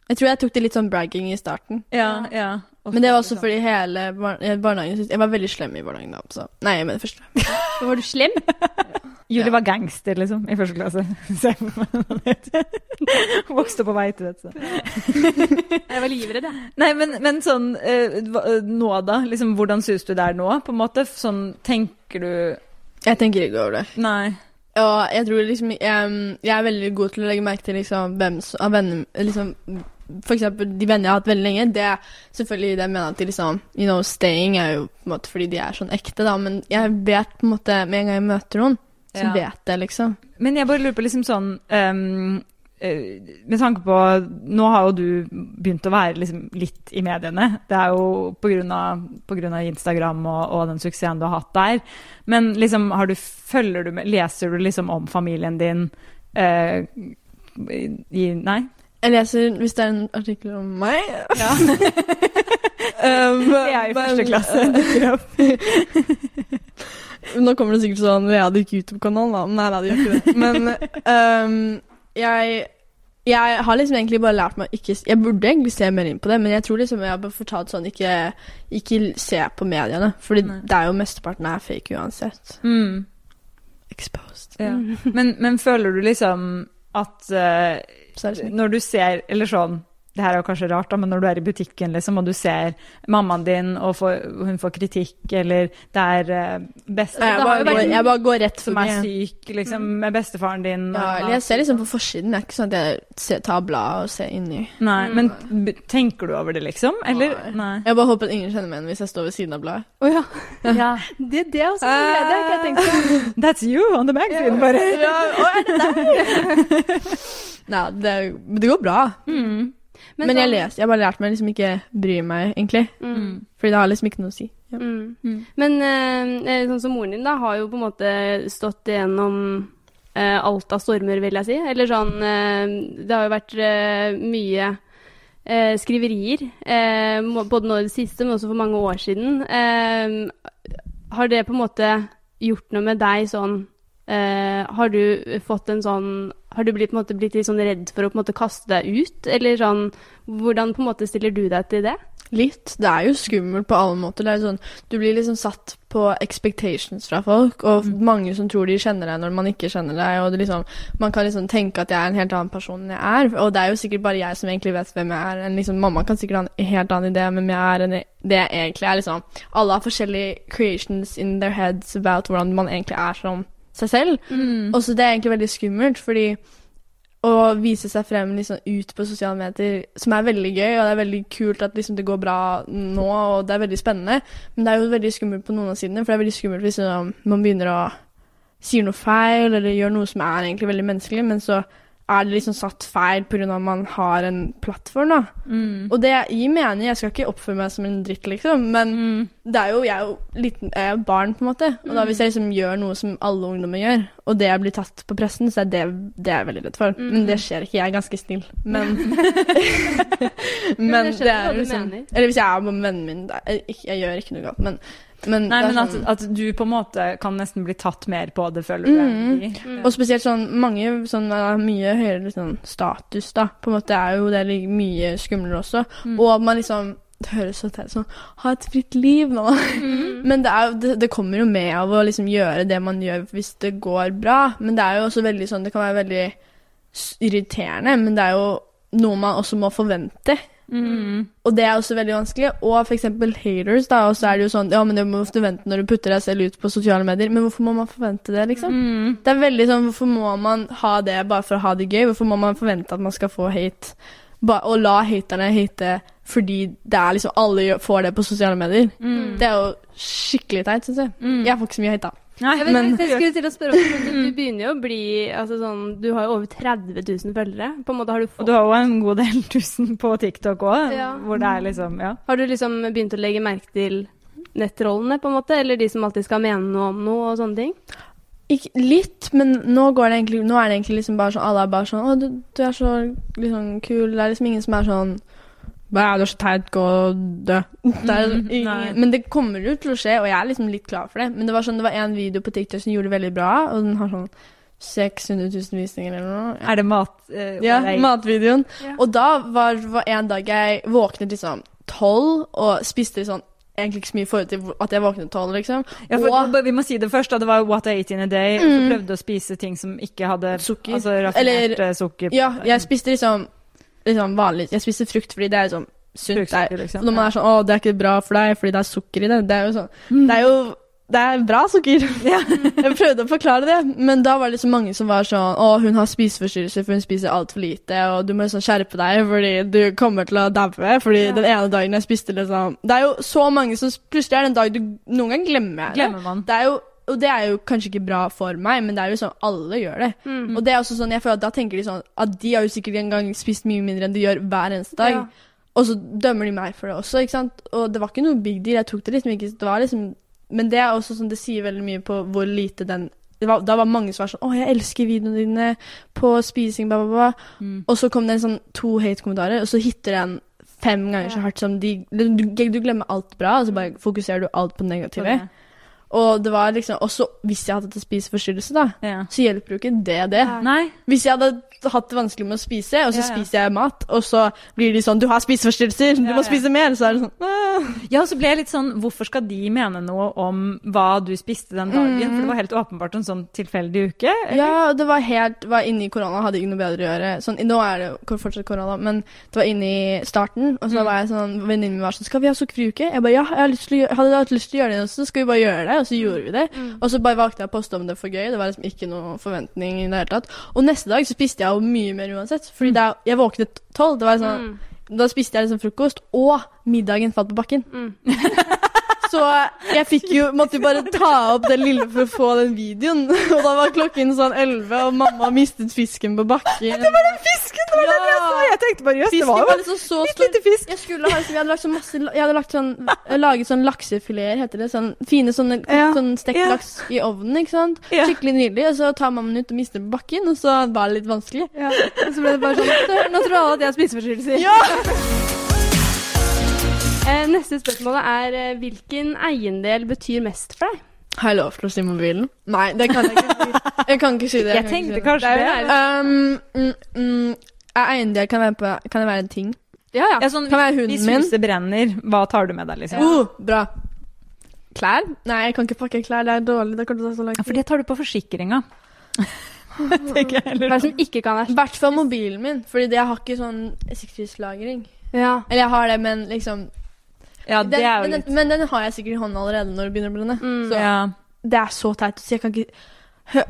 [SPEAKER 3] Jeg tror jeg tok det litt sånn bragging i starten.
[SPEAKER 1] Ja, ja.
[SPEAKER 3] Men det var også fordi hele bar eh, barnehagen syntes Jeg var veldig slem i barnehagen da. Så. Nei, jeg mener første.
[SPEAKER 2] Så var du slem.
[SPEAKER 1] Julie var gangster, liksom, i første klasse. Se for meg hva det heter. Vokste opp på vei til dette.
[SPEAKER 2] Jeg var livredd, jeg.
[SPEAKER 1] Nei, men, men sånn eh, hva- eh, nå, da? Liksom, hvordan synes du det er nå, på en måte? Sånn, tenker du
[SPEAKER 3] Jeg tenker ikke over det.
[SPEAKER 1] Nei.
[SPEAKER 3] Og jeg tror liksom jeg, jeg er veldig god til å legge merke til liksom, hvem som- av venner liksom, For eksempel de venner jeg har hatt veldig lenge. Det er selvfølgelig det jeg mener at de liksom You know, staying er jo på en måte fordi de er sånn ekte, da. Men jeg vet på en måte Med en gang jeg møter noen, så
[SPEAKER 1] Ja.
[SPEAKER 3] vet jeg liksom.
[SPEAKER 1] Men jeg bare lurer på liksom sånn ehm, eh, Med tanke på Nå har jo du begynt å være liksom litt i mediene. Det er jo på grunn av, på grunn av Instagram og, og den suksessen du har hatt der. Men liksom, har du, følger du med Leser du liksom om familien din eh, i, i Nei?
[SPEAKER 3] Jeg leser hvis det er en artikkel om meg.
[SPEAKER 1] Ja.
[SPEAKER 3] Um,
[SPEAKER 1] Det er i første
[SPEAKER 3] men-
[SPEAKER 1] klasse. dukker opp.
[SPEAKER 3] Nå kommer det sikkert sånn Lea hadde ikke YouTube-kanal, da. Nei da, det gjør ikke det. Men øhm, jeg, jeg har liksom egentlig bare lært meg å ikke Jeg burde egentlig se mer inn på det, men jeg tror liksom jeg har bare fortalt sånn ikke, ikke se på mediene. Fordi
[SPEAKER 1] Nei.
[SPEAKER 3] det er jo mesteparten er fake uansett.
[SPEAKER 1] Mm.
[SPEAKER 3] Exposed.
[SPEAKER 1] Ja. Men, men føler du liksom at eh,
[SPEAKER 3] Så er det sånn.
[SPEAKER 1] Når du ser, eller sånn det her er jo kanskje rart, da, men når du er i butikken liksom, og du ser mammaen din, og får, hun får kritikk, eller det er eh, best
[SPEAKER 3] Nei, jeg,
[SPEAKER 2] det har
[SPEAKER 3] bare
[SPEAKER 2] jo vært
[SPEAKER 3] går,
[SPEAKER 2] noen
[SPEAKER 3] jeg bare går rett
[SPEAKER 1] som
[SPEAKER 3] forbi.
[SPEAKER 1] er syk, liksom, med bestefaren din
[SPEAKER 3] Ja,
[SPEAKER 1] og-
[SPEAKER 3] eller jeg ser liksom på forsiden. Det er ikke sånn at jeg ser, tar bladet og ser inni.
[SPEAKER 1] Nei, men b- tenker du over det, liksom? Eller? Nei.
[SPEAKER 3] Jeg bare håper at ingen kjenner meg igjen hvis jeg står ved siden av bladet.
[SPEAKER 2] Å ja. Det, det er også det, det har ikke jeg tenkt på.
[SPEAKER 1] That's you on the magazine, bare.
[SPEAKER 3] Ja, å, er det deg? Nei, det, men det går bra.
[SPEAKER 1] Mm.
[SPEAKER 3] Men, jeg leser, jeg har bare lært meg liksom ikke bry meg, egentlig.
[SPEAKER 2] Mm.
[SPEAKER 3] Fordi det har liksom ikke noe å si. Ja.
[SPEAKER 2] Mm.
[SPEAKER 1] Mm.
[SPEAKER 2] Men eh, eh, sånn som moren din, da, har jo på en måte stått igjennom eh, alt av stormer, vil jeg si. Eller sånn eh, Det har jo vært eh, mye eh, skriverier, eh, må- både nå i det siste, men også for mange år siden. Eh, har det på en måte gjort noe med deg sånn eh, Har du fått en sånn Har du blitt, på en måte, blitt litt sånn redd for å på en måte kaste deg ut, eller sånn Hvordan på en måte stiller du deg til det?
[SPEAKER 3] Litt. Det er jo skummelt på alle måter. Det er jo sånn, du blir liksom satt på expectations fra folk, og mange som tror de kjenner deg når man ikke kjenner deg. Og det liksom, man kan liksom tenke at jeg er en helt annen person enn jeg er. Og det er jo sikkert bare jeg som egentlig vet hvem jeg er. En liksom, mamma kan sikkert ha en helt annen idé om hvem jeg er enn det jeg egentlig er. Liksom. Alle har forskjellige creations in their heads about hvordan man egentlig er som seg selv.
[SPEAKER 1] Mm.
[SPEAKER 3] Og så det er egentlig veldig skummelt, fordi å vise seg frem liksom, ut på sosiale medier, som er veldig gøy, og det er veldig kult at liksom, det går bra nå, og det er veldig spennende, men det er jo veldig skummelt på noen av sidene, for det er veldig skummelt hvis liksom, man begynner å si noe feil, eller gjør noe som er egentlig veldig menneskelig, men så er det liksom satt feil på grunn av at man har en plattform, da.
[SPEAKER 1] Mm.
[SPEAKER 3] Og det gir mening, jeg skal ikke oppføre meg som en dritt, liksom, men
[SPEAKER 1] Mm.
[SPEAKER 3] det er jo, jeg er jo liten, jeg er jo barn, på en måte. Og da hvis jeg liksom gjør noe som alle ungdommer gjør, og det blir tatt på pressen, så er det det jeg er veldig redd for. Men det skjer ikke. Jeg er ganske snill. Men, men
[SPEAKER 2] jeg skjønner hva du
[SPEAKER 3] det er jo liksom
[SPEAKER 2] mener.
[SPEAKER 3] Eller hvis jeg er med vennen min, da, jeg, ikke- jeg gjør ikke noe galt, men, men,
[SPEAKER 1] Nei,
[SPEAKER 3] det er
[SPEAKER 1] men altså- at,
[SPEAKER 3] sånn-
[SPEAKER 1] at du på en måte kan nesten bli tatt mer på det, føler du?
[SPEAKER 3] Mm.
[SPEAKER 1] deg i?
[SPEAKER 3] Og spesielt sånn mange sånn eh, mye høyere sånn, status, da. På en måte er jo det like mye skumlere også.
[SPEAKER 1] Mm.
[SPEAKER 3] Og at man liksom Det høres så teit ut sånn Ha et fritt liv nå. Men det, er, jo- det, det kommer jo med av å liksom gjøre det man gjør hvis det går bra. Men det er jo også veldig sånn Det kan være veldig s- irriterende, men det er jo noe man også må forvente.
[SPEAKER 1] Mm.
[SPEAKER 3] Og det er også veldig vanskelig. Og f.eks. haters, da. Og så er det jo sånn Ja, men det må du forvente når du putter deg selv ut på sosiale medier. Men hvorfor må man forvente det, liksom?
[SPEAKER 1] Mm.
[SPEAKER 3] Det er veldig sånn Hvorfor må man ha det bare for å ha det gøy? Hvorfor må man forvente at man skal få hate? Ba og la haterne hate fordi det er liksom Alle gjør- får det på sosiale medier.
[SPEAKER 1] Mm.
[SPEAKER 3] Det er jo skikkelig teit, syns jeg.
[SPEAKER 1] Mm.
[SPEAKER 3] Jeg får ikke så mye hate, da.
[SPEAKER 1] Nei,
[SPEAKER 2] Jeg, vet,
[SPEAKER 1] men-
[SPEAKER 2] ikke, jeg skulle til å spørre også, men du, du begynner jo å bli altså sånn, Du har jo over 30 000 følgere. På en måte har, du
[SPEAKER 1] Og
[SPEAKER 2] fått,
[SPEAKER 1] du har jo en god del tusen på TikTok òg,
[SPEAKER 2] Ja.
[SPEAKER 1] hvor det er liksom Ja.
[SPEAKER 2] har du liksom begynt å legge merke til nettrollene, på en måte? Eller de som alltid skal mene noe om noe og sånne ting?
[SPEAKER 3] Ikke, litt, men nå, går det egentlig, nå er det egentlig liksom bare sånn Alle er bare sånn 'Å, du, du er så liksom kul.' Det er liksom ingen som er sånn 'Bæ, du er så teit, gå og dø'. Det er,
[SPEAKER 1] Mhm,
[SPEAKER 3] i-
[SPEAKER 1] nei.
[SPEAKER 3] men det kommer jo til å skje, og jeg er liksom litt klar for det. Men det var sånn, det var en video på TikTok som gjorde det veldig bra, og den har sånn 600 000 visninger eller noe. Ja.
[SPEAKER 1] Er det mat... eh,
[SPEAKER 3] Ja,
[SPEAKER 1] nei.
[SPEAKER 3] matvideoen.
[SPEAKER 2] Ja.
[SPEAKER 3] Og da var, var en dag jeg våknet liksom tolv, og spiste sånn egentlig ikke så mye i forhold til hvor- at jeg våknet tolv, liksom.
[SPEAKER 1] Ja, for,
[SPEAKER 3] og
[SPEAKER 1] bare- Vi må si det først, da. Det var jo What I Ate In A Day. Og så prøvde du å spise ting som ikke hadde
[SPEAKER 3] Sukker.
[SPEAKER 1] Altså raffinert
[SPEAKER 3] Mm. Eller-
[SPEAKER 1] eh, sukker.
[SPEAKER 3] Ja, jeg spiste liksom, liksom vanlig Jeg spiste frukt fordi det er liksom sunt. Det
[SPEAKER 1] Fruktsukker,
[SPEAKER 3] er-
[SPEAKER 1] liksom.
[SPEAKER 3] Når man er sånn 'Å, det er ikke bra for deg fordi det er sukker i det', det er jo sånn Det er jo det er bra sukker. jeg prøvde å forklare det, men da var det liksom mange som var sånn 'Å, hun har spiseforstyrrelser, for hun spiser altfor lite', og 'du må liksom skjerpe deg, fordi du kommer til å daue', fordi den ene dagen jeg spiste liksom Det er jo så mange som Plutselig er det en dag du Noen ganger glemmer jeg det.
[SPEAKER 1] Glemmer man.
[SPEAKER 3] Det er jo og det er jo kanskje ikke bra for meg, men det er jo sånn alle gjør det.
[SPEAKER 2] Mm.
[SPEAKER 3] Og det er også sånn, jeg føler at da tenker de sånn at de har jo sikkert en gang spist mye mindre enn de gjør hver eneste dag.
[SPEAKER 2] Ja.
[SPEAKER 3] Og så dømmer de meg for det også, ikke sant. Og det var ikke noe big deal, jeg tok det liksom ikke. Det var liksom, men det er også sånn, det sier veldig mye på hvor lite den det var, Da var mange som var sånn 'Å, jeg elsker videoene dine på spising', bla, bla, bla.
[SPEAKER 1] Mm.
[SPEAKER 3] Og så kom det en sånn to hate-kommentarer, og så hitter den fem ganger så hardt som de Du, du glemmer alt bra, og så bare fokuserer du alt på det negative.
[SPEAKER 1] det.
[SPEAKER 3] Og det var liksom Også hvis jeg hadde hatt en spiseforstyrrelse, da,
[SPEAKER 1] Ja.
[SPEAKER 3] så hjelper jo ikke det det.
[SPEAKER 1] Nei.
[SPEAKER 3] Hvis jeg hadde hatt det vanskelig med å spise, og så
[SPEAKER 1] Ja, ja.
[SPEAKER 3] spiser jeg mat, og så blir de sånn 'Du har spiseforstyrrelser, du
[SPEAKER 1] Ja,
[SPEAKER 3] må
[SPEAKER 1] ja.
[SPEAKER 3] spise mer', så er det sånn «Åh».
[SPEAKER 1] Ja, og så ble jeg litt sånn Hvorfor skal de mene noe om hva du spiste den dagen? For det var helt åpenbart en sånn tilfeldig uke.
[SPEAKER 3] Mm. Ja, og det var helt Var inne i korona, hadde ikke noe bedre å gjøre. Sånn, nå er det jo fortsatt korona, men det var inne i starten, og så var jeg sånn Venninnen min var sånn 'Skal vi ha sukkerfri uke?' Jeg bare 'Ja, jeg har lyst til å, gjø- hadde hatt lyst til å gjøre det også, skal vi bare gjøre det?' Og så gjorde vi det. Og så bare valgte jeg å poste om det for gøy. Det var liksom ikke noe forventning i det hele tatt. Og neste dag så spiste jeg jo mye mer uansett, fordi da jeg våknet tolv, det var sånn
[SPEAKER 2] Mm.
[SPEAKER 3] Da spiste jeg liksom frokost, og middagen falt på bakken.
[SPEAKER 2] Mm.
[SPEAKER 3] Så jeg fikk jo, måtte jo bare ta opp det lille for å få den videoen. Og da var klokken sånn elleve, og mamma mistet fisken på bakken. Det var den
[SPEAKER 1] Fisken! Det var den jeg så! Jeg tenkte bare jøss, det
[SPEAKER 3] fisken
[SPEAKER 1] var
[SPEAKER 3] var
[SPEAKER 1] jo
[SPEAKER 3] liksom så
[SPEAKER 1] litt
[SPEAKER 3] stor.
[SPEAKER 1] lite fisk.
[SPEAKER 3] Jeg skulle ha liksom, jeg hadde lagt sånn masse Jeg hadde lagt sånn, jeg hadde laget sånn laksefileter, heter det. Sånn fine sånne
[SPEAKER 1] Ja.
[SPEAKER 3] sånn stekt
[SPEAKER 1] Ja.
[SPEAKER 3] laks i ovnen, ikke sant.
[SPEAKER 1] Ja.
[SPEAKER 3] Skikkelig nydelig. Og så tar mammaen ut og mister den på bakken, og så var det litt vanskelig.
[SPEAKER 2] Ja. Og så ble det bare sånn Nå tror alle at jeg har spiseforstyrrelser.
[SPEAKER 3] Ja!
[SPEAKER 2] Eh, neste spørsmål er eh, hvilken eiendel betyr mest for deg?
[SPEAKER 3] Har jeg lov til å si mobilen? Nei, det kan jeg ikke si. Jeg kan ikke si det.
[SPEAKER 1] Jeg
[SPEAKER 3] kan ikke si
[SPEAKER 1] tenkte
[SPEAKER 3] det.
[SPEAKER 1] kanskje det.
[SPEAKER 2] Det er jo
[SPEAKER 3] Um, mm, mm, er eiendel kan være, på, kan det være en ting?
[SPEAKER 2] Ja, ja.
[SPEAKER 1] Ja, sånn,
[SPEAKER 3] Kan være hunden
[SPEAKER 1] hvis huset brenner, hva tar du med deg, liksom?
[SPEAKER 3] Uh, bra. Klær? Nei, jeg kan ikke pakke klær. Det er dårlig. Det kommer til å ta så lang
[SPEAKER 1] Ja, for
[SPEAKER 3] tid.
[SPEAKER 1] det tar du på forsikringa. Tenker jeg
[SPEAKER 2] Hva er
[SPEAKER 1] heller.
[SPEAKER 2] det som ikke kan
[SPEAKER 3] I
[SPEAKER 2] være
[SPEAKER 3] hvert fall mobilen min, Fordi det- jeg har ikke sånn sikkerhetslagring.
[SPEAKER 2] Ja.
[SPEAKER 3] Eller jeg har det, men liksom
[SPEAKER 1] Ja, det
[SPEAKER 3] den,
[SPEAKER 1] er jo
[SPEAKER 3] men,
[SPEAKER 1] litt
[SPEAKER 3] den, men den har jeg sikkert i hånden allerede når det begynner å brenne.
[SPEAKER 2] Mm.
[SPEAKER 3] så
[SPEAKER 1] ja.
[SPEAKER 3] Det er så teit. Så jeg kan ikke Hø.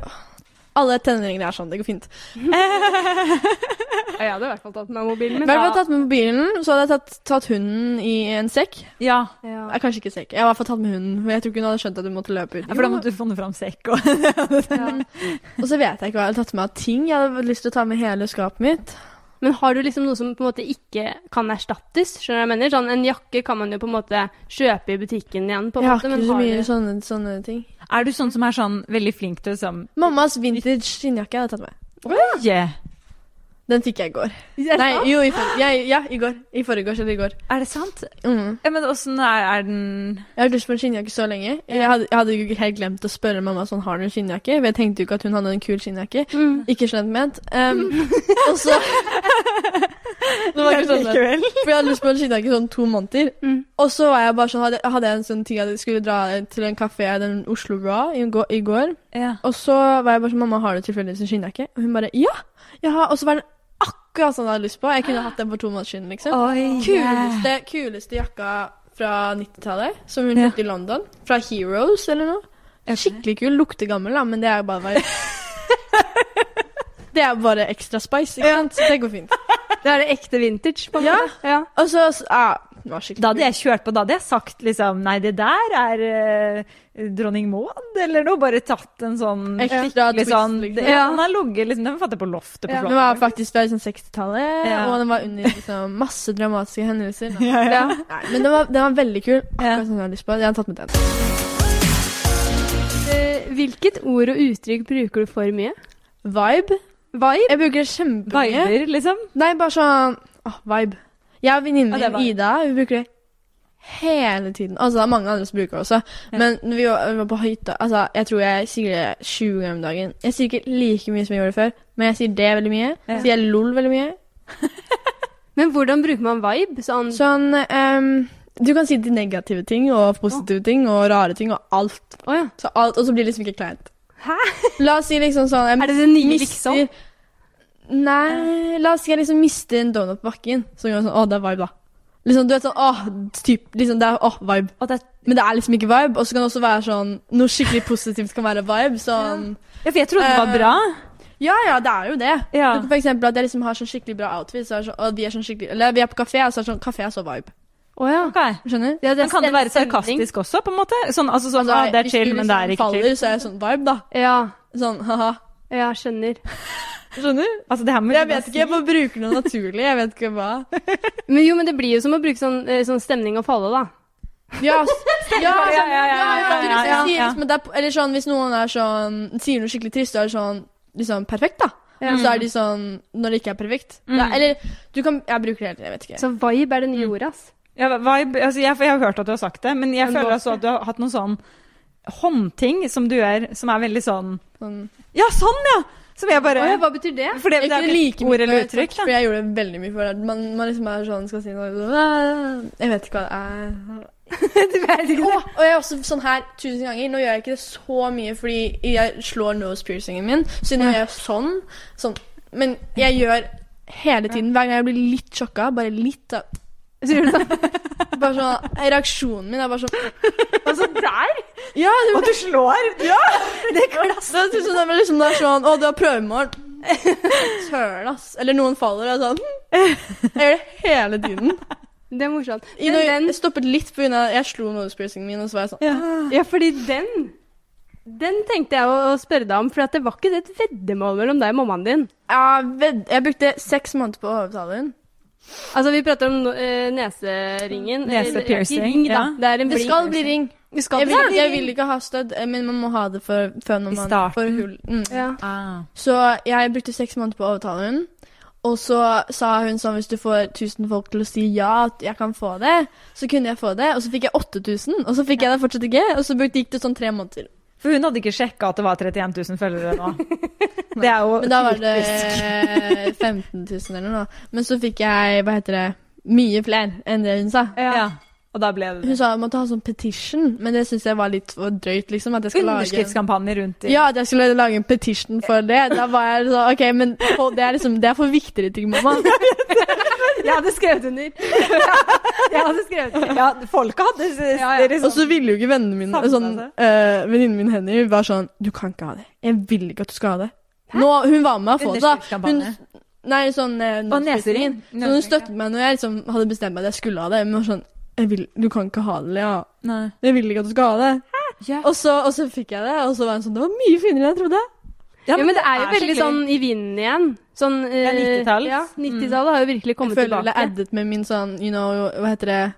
[SPEAKER 3] Alle tenåringer er sånn. Det går fint.
[SPEAKER 2] Jeg hadde i hvert fall tatt med mobilen
[SPEAKER 3] I
[SPEAKER 2] min.
[SPEAKER 3] hvert fall tatt med mobilen. Så hadde jeg tatt, tatt hunden i en sekk.
[SPEAKER 1] ja.
[SPEAKER 2] Ja.
[SPEAKER 3] Jeg, kanskje ikke sekk. Jeg har i hvert fall tatt med hunden. For jeg tror ikke hun hadde skjønt at hun måtte løpe ut.
[SPEAKER 1] Ja, For da måtte du funnet fram sekk og
[SPEAKER 2] Ja.
[SPEAKER 3] Og så vet jeg ikke hva jeg hadde tatt med av ting. Jeg hadde lyst til å ta med hele skapet mitt.
[SPEAKER 2] Men har du liksom noe som på en måte ikke kan erstattes? Skjønner du hva jeg mener? Sånn, En jakke kan man jo på en måte kjøpe i butikken igjen. på en
[SPEAKER 3] Jeg har
[SPEAKER 2] måte,
[SPEAKER 3] ikke
[SPEAKER 2] men
[SPEAKER 3] så
[SPEAKER 2] har
[SPEAKER 3] mye sånn-
[SPEAKER 2] du-
[SPEAKER 3] sånne, sånne ting.
[SPEAKER 1] Er du sånn som er sånn veldig flink til liksom
[SPEAKER 3] Mammas vintage skinnjakke hadde jeg tatt med.
[SPEAKER 1] yeah.
[SPEAKER 3] Den fikk jeg i går.
[SPEAKER 2] Er det
[SPEAKER 3] Nei,
[SPEAKER 2] sant?
[SPEAKER 3] jo, i for... ja, ja, i går. I forgårs eller i går.
[SPEAKER 1] Er det sant?
[SPEAKER 3] Mm.
[SPEAKER 1] Ja, men åssen er, er den
[SPEAKER 3] Jeg har lyst på en skinnjakke så lenge. Jeg hadde, jeg hadde jo helt glemt å spørre mamma sånn, har du en skinnjakke. For jeg tenkte jo ikke at hun hadde en kul skinnjakke.
[SPEAKER 2] Mm.
[SPEAKER 3] Ikke slemt ment. Um, og så Det var ikke sånn ment. For jeg hadde lyst på en skinnjakke i sånn to måneder.
[SPEAKER 2] Mm.
[SPEAKER 3] Og så var jeg bare sånn, hadde, hadde jeg en sånn ting at jeg skulle dra til en kafé, den Oslo Raw, i, gå- i går.
[SPEAKER 1] Ja.
[SPEAKER 3] Og så var jeg bare sånn Mamma, har du tilfeldigvis en skinnjakke? Og hun bare Ja! Ja, og så var den akkurat sånn jeg hadde lyst på. Jeg kunne hatt den for to måneder siden, liksom.
[SPEAKER 1] Oi,
[SPEAKER 3] Kuleste, kuleste jakka fra 90-tallet, som hun
[SPEAKER 1] Ja.
[SPEAKER 3] kjøpte i London. Fra Heroes eller noe. Skikkelig kul. Lukter gammel, da, men det er jo bare Det er bare ekstra spice, ikke sant? Så det går fint.
[SPEAKER 2] Det er det ekte vintage, på en
[SPEAKER 3] Ja.
[SPEAKER 2] måte. Ja.
[SPEAKER 3] Og så så- ja, den var skikkelig
[SPEAKER 1] Da hadde jeg kjørt på, da hadde jeg sagt liksom Nei, det der er eh, dronning Maud eller noe. Bare tatt en sånn
[SPEAKER 3] Ekstra
[SPEAKER 1] skikkelig
[SPEAKER 3] twist,
[SPEAKER 1] sånn
[SPEAKER 3] liksom.
[SPEAKER 1] Ja,
[SPEAKER 2] Ja.
[SPEAKER 1] den har ligget liksom Den fant jeg på loftet på
[SPEAKER 3] Ja, den
[SPEAKER 1] Flåtten.
[SPEAKER 3] var faktisk fra liksom, 60-tallet,
[SPEAKER 1] Ja.
[SPEAKER 3] og den var under liksom, masse dramatiske hendelser. da.
[SPEAKER 1] Ja, ja.
[SPEAKER 3] Nei, men den var, den var veldig kul.
[SPEAKER 1] Ja.
[SPEAKER 3] Akkurat sånn som jeg hadde lyst på. Jeg har tatt med den.
[SPEAKER 2] Eh, hvilket ord og uttrykk bruker du for mye?
[SPEAKER 3] Vibe.
[SPEAKER 2] Vibe?
[SPEAKER 3] Jeg bruker det kjempemye.
[SPEAKER 1] Viber, liksom.
[SPEAKER 3] Nei, bare sånn åh, vibe. Jeg og venninnen
[SPEAKER 1] Ja, det er
[SPEAKER 3] min Ida vi bruker det hele tiden. Altså, det er mange andre som bruker det også.
[SPEAKER 1] Ja.
[SPEAKER 3] Men når vi var, vi var på hytta altså, Jeg tror jeg sier det 20 ganger om dagen. Jeg sier ikke like mye som jeg gjorde før, men jeg sier det veldig mye.
[SPEAKER 1] Ja.
[SPEAKER 3] Sier jeg lol veldig mye.
[SPEAKER 2] Men hvordan bruker man vibe? Sånn,
[SPEAKER 3] Sånn ehm, Du kan si de negative ting og positive ting og rare ting og alt.
[SPEAKER 2] Å ja.
[SPEAKER 3] Så alt og så blir det liksom ikke kleint.
[SPEAKER 2] Hæ?
[SPEAKER 3] La oss si liksom sånn jeg
[SPEAKER 2] Er det det nye
[SPEAKER 3] mister-
[SPEAKER 2] liksom?
[SPEAKER 3] Nei La oss si jeg liksom mister en donut på bakken. Så gjør jeg sånn Å, det er vibe, da. Liksom, du vet sånn Åh, typ, liksom, det er åh, vibe.
[SPEAKER 1] Og det er,
[SPEAKER 3] Men det er liksom ikke vibe. Og så kan det også være sånn Noe skikkelig positivt kan være vibe. Sånn
[SPEAKER 1] ja, for jeg trodde det var
[SPEAKER 3] Eh,
[SPEAKER 1] bra.
[SPEAKER 3] Ja ja, det er jo Eh, det.
[SPEAKER 1] Ja.
[SPEAKER 3] Du kan For eksempel at jeg liksom har sånn skikkelig bra outfit, så er det sånn, og vi er sånn skikkelig Eller vi er på kafé, og så er det sånn Kafé er så vibe.
[SPEAKER 2] Å ja.
[SPEAKER 1] Ok.
[SPEAKER 3] Skjønner?
[SPEAKER 2] Ja,
[SPEAKER 1] Men kan det være
[SPEAKER 2] stemning.
[SPEAKER 1] sarkastisk også, på en måte? Sånn, altså, sånn,
[SPEAKER 3] Altså,
[SPEAKER 1] ah, det er
[SPEAKER 3] hvis
[SPEAKER 1] chill,
[SPEAKER 3] du
[SPEAKER 1] men
[SPEAKER 3] liksom
[SPEAKER 1] det er ikke
[SPEAKER 3] faller,
[SPEAKER 1] chill.
[SPEAKER 3] så er jeg sånn vibe, da.
[SPEAKER 2] Ja.
[SPEAKER 3] Sånn haha.
[SPEAKER 2] Ja, skjønner.
[SPEAKER 3] Skjønner?
[SPEAKER 1] Altså, det her må
[SPEAKER 3] Jeg vet ikke, jeg bare bruker noe naturlig. Jeg vet ikke hva.
[SPEAKER 2] Men jo, men det blir jo som å bruke sånn, eh, sånn stemning og falle, da.
[SPEAKER 3] Ja, s- ja,
[SPEAKER 1] Ja, ja, ja, ja, ja,
[SPEAKER 3] ja, du
[SPEAKER 1] ja, ja,
[SPEAKER 3] liksom sier
[SPEAKER 1] ja.
[SPEAKER 3] liksom at det er, Eller sånn, hvis noen er sånn Sier noe skikkelig trist, så er det sånn Liksom perfekt, da.
[SPEAKER 2] Ja.
[SPEAKER 3] Så er de sånn Når det ikke er perfekt.
[SPEAKER 1] Mm.
[SPEAKER 3] Ja, eller du kan Jeg bruker det hele tiden, jeg vet ikke.
[SPEAKER 2] Så vibe er det nye ordet, ass.
[SPEAKER 1] Ja, vibe, altså, jeg, for jeg har hørt at du har sagt det, men jeg
[SPEAKER 2] Men
[SPEAKER 1] føler
[SPEAKER 2] hva-
[SPEAKER 1] altså at du har hatt noen sånn håndting som du gjør, som er veldig sånn
[SPEAKER 3] Sånn,
[SPEAKER 1] Ja, sånn, ja! Som jeg bare
[SPEAKER 2] Å ja, hva betyr det?
[SPEAKER 1] For det,
[SPEAKER 3] jeg
[SPEAKER 1] det er
[SPEAKER 3] kunne
[SPEAKER 1] jo
[SPEAKER 3] like
[SPEAKER 1] ikke ord eller uttrykk, da.
[SPEAKER 3] For jeg gjorde det veldig mye før. Man, man liksom er sånn Skal si noe sånn, Jeg vet ikke hva det er.
[SPEAKER 1] Du vet ikke det.
[SPEAKER 3] Å, og jeg er også sånn her tusen ganger. Nå gjør jeg ikke det så mye fordi jeg slår nose piercingen min, så nå gjør jeg sånn. sånn. Men jeg gjør hele tiden, hver gang jeg blir litt sjokka, bare litt da.
[SPEAKER 2] Så gjør du sånn.
[SPEAKER 3] Bare sånn, Reaksjonen min er bare sånn
[SPEAKER 1] Altså, der!
[SPEAKER 3] Ja, det
[SPEAKER 1] Og du slår! Ja! Det er klasse.
[SPEAKER 3] det er tusen ganger liksom det er sånn Å, du har prøvemorgen. Søren, ass. Eller noen faller og er sånn hm. Jeg gjør det hele tiden.
[SPEAKER 2] Det er morsomt.
[SPEAKER 3] I,
[SPEAKER 2] Men
[SPEAKER 3] når
[SPEAKER 2] den,
[SPEAKER 3] jeg stoppet litt pga. Jeg slo nose piercingen min, og så var jeg sånn
[SPEAKER 1] Ja.
[SPEAKER 2] ja, fordi den Den tenkte jeg å, å spørre deg om, for at det var ikke det et veddemål mellom deg og mammaen din.
[SPEAKER 3] Ja, ved, Jeg brukte seks måneder på å overtale henne.
[SPEAKER 2] Altså, vi prater om eh, neseringen. eller-
[SPEAKER 1] Nesepiercing,
[SPEAKER 2] ikke Ring, da.
[SPEAKER 1] ja.
[SPEAKER 2] Det, er en
[SPEAKER 3] Det
[SPEAKER 2] bling.
[SPEAKER 3] skal bli ring.
[SPEAKER 2] Du skal
[SPEAKER 3] jeg, vil,
[SPEAKER 2] det?
[SPEAKER 3] jeg vil ikke ha stødd, eh, men man må ha det for, før når
[SPEAKER 1] I
[SPEAKER 3] man
[SPEAKER 1] starten.
[SPEAKER 3] får hull. Mm.
[SPEAKER 2] Ja.
[SPEAKER 1] Ah.
[SPEAKER 3] Så jeg brukte seks måneder på å overtale hun. Og så sa hun sånn hvis du får 1000 folk til å si ja, at jeg kan få det, så kunne jeg få det. Og så fikk jeg 8000, og så fikk jeg det fortsatt ikke. Og så brukte- gikk det sånn tre måneder.
[SPEAKER 1] For hun hadde ikke sjekka at det var 31 000 følgere nå. Det er jo
[SPEAKER 3] Men da var det
[SPEAKER 1] typisk.
[SPEAKER 3] 15 000 eller noe. Men så fikk jeg, hva heter det, mye flere enn det hun sa.
[SPEAKER 1] ja. Og da ble det
[SPEAKER 3] Hun sa jeg måtte ha sånn petition, men det syns jeg var litt for drøyt, liksom. At jeg skal lage en
[SPEAKER 1] underskriftskampanje rundt i
[SPEAKER 3] Ja, at jeg skulle lage en petition for det. Da var jeg sånn OK, men å, det er liksom Det er for viktigere ting, mamma.
[SPEAKER 2] Jeg hadde skrevet under. jeg hadde skrevet under.
[SPEAKER 1] Ja, folket hadde s-
[SPEAKER 2] Ja, ja.
[SPEAKER 1] liksom-
[SPEAKER 3] Og så ville jo ikke vennene mine
[SPEAKER 1] Savnet
[SPEAKER 3] sånn,
[SPEAKER 1] det.
[SPEAKER 3] eh, Venninnen min Henny var sånn Du kan ikke ha det. Jeg vil ikke at du skal ha det. Nå, hun var med meg å få det. da. Hun,
[SPEAKER 1] Underskriftskampanje.
[SPEAKER 3] nei, sånn eh,
[SPEAKER 1] Og nesering.
[SPEAKER 3] Så hun støttet meg når jeg liksom hadde bestemt meg at jeg skulle ha det. Men var sånn jeg vil, Du kan ikke ha det, Lea.
[SPEAKER 1] Nei.
[SPEAKER 3] Jeg vil ikke at du skal ha det.
[SPEAKER 1] Ja.
[SPEAKER 3] Og så, og så fikk jeg det, og så var hun sånn Det var mye finere enn jeg trodde.
[SPEAKER 2] Ja, men det er jo veldig
[SPEAKER 1] skikkelig-
[SPEAKER 2] sånn i vinden igjen. Sånn, eh,
[SPEAKER 1] Ja, 90-tall.
[SPEAKER 2] Ja, 90-tallet har jo virkelig kommet
[SPEAKER 3] jeg føler jeg ble
[SPEAKER 2] tilbake.
[SPEAKER 3] addet med min sånn, you know, hva heter det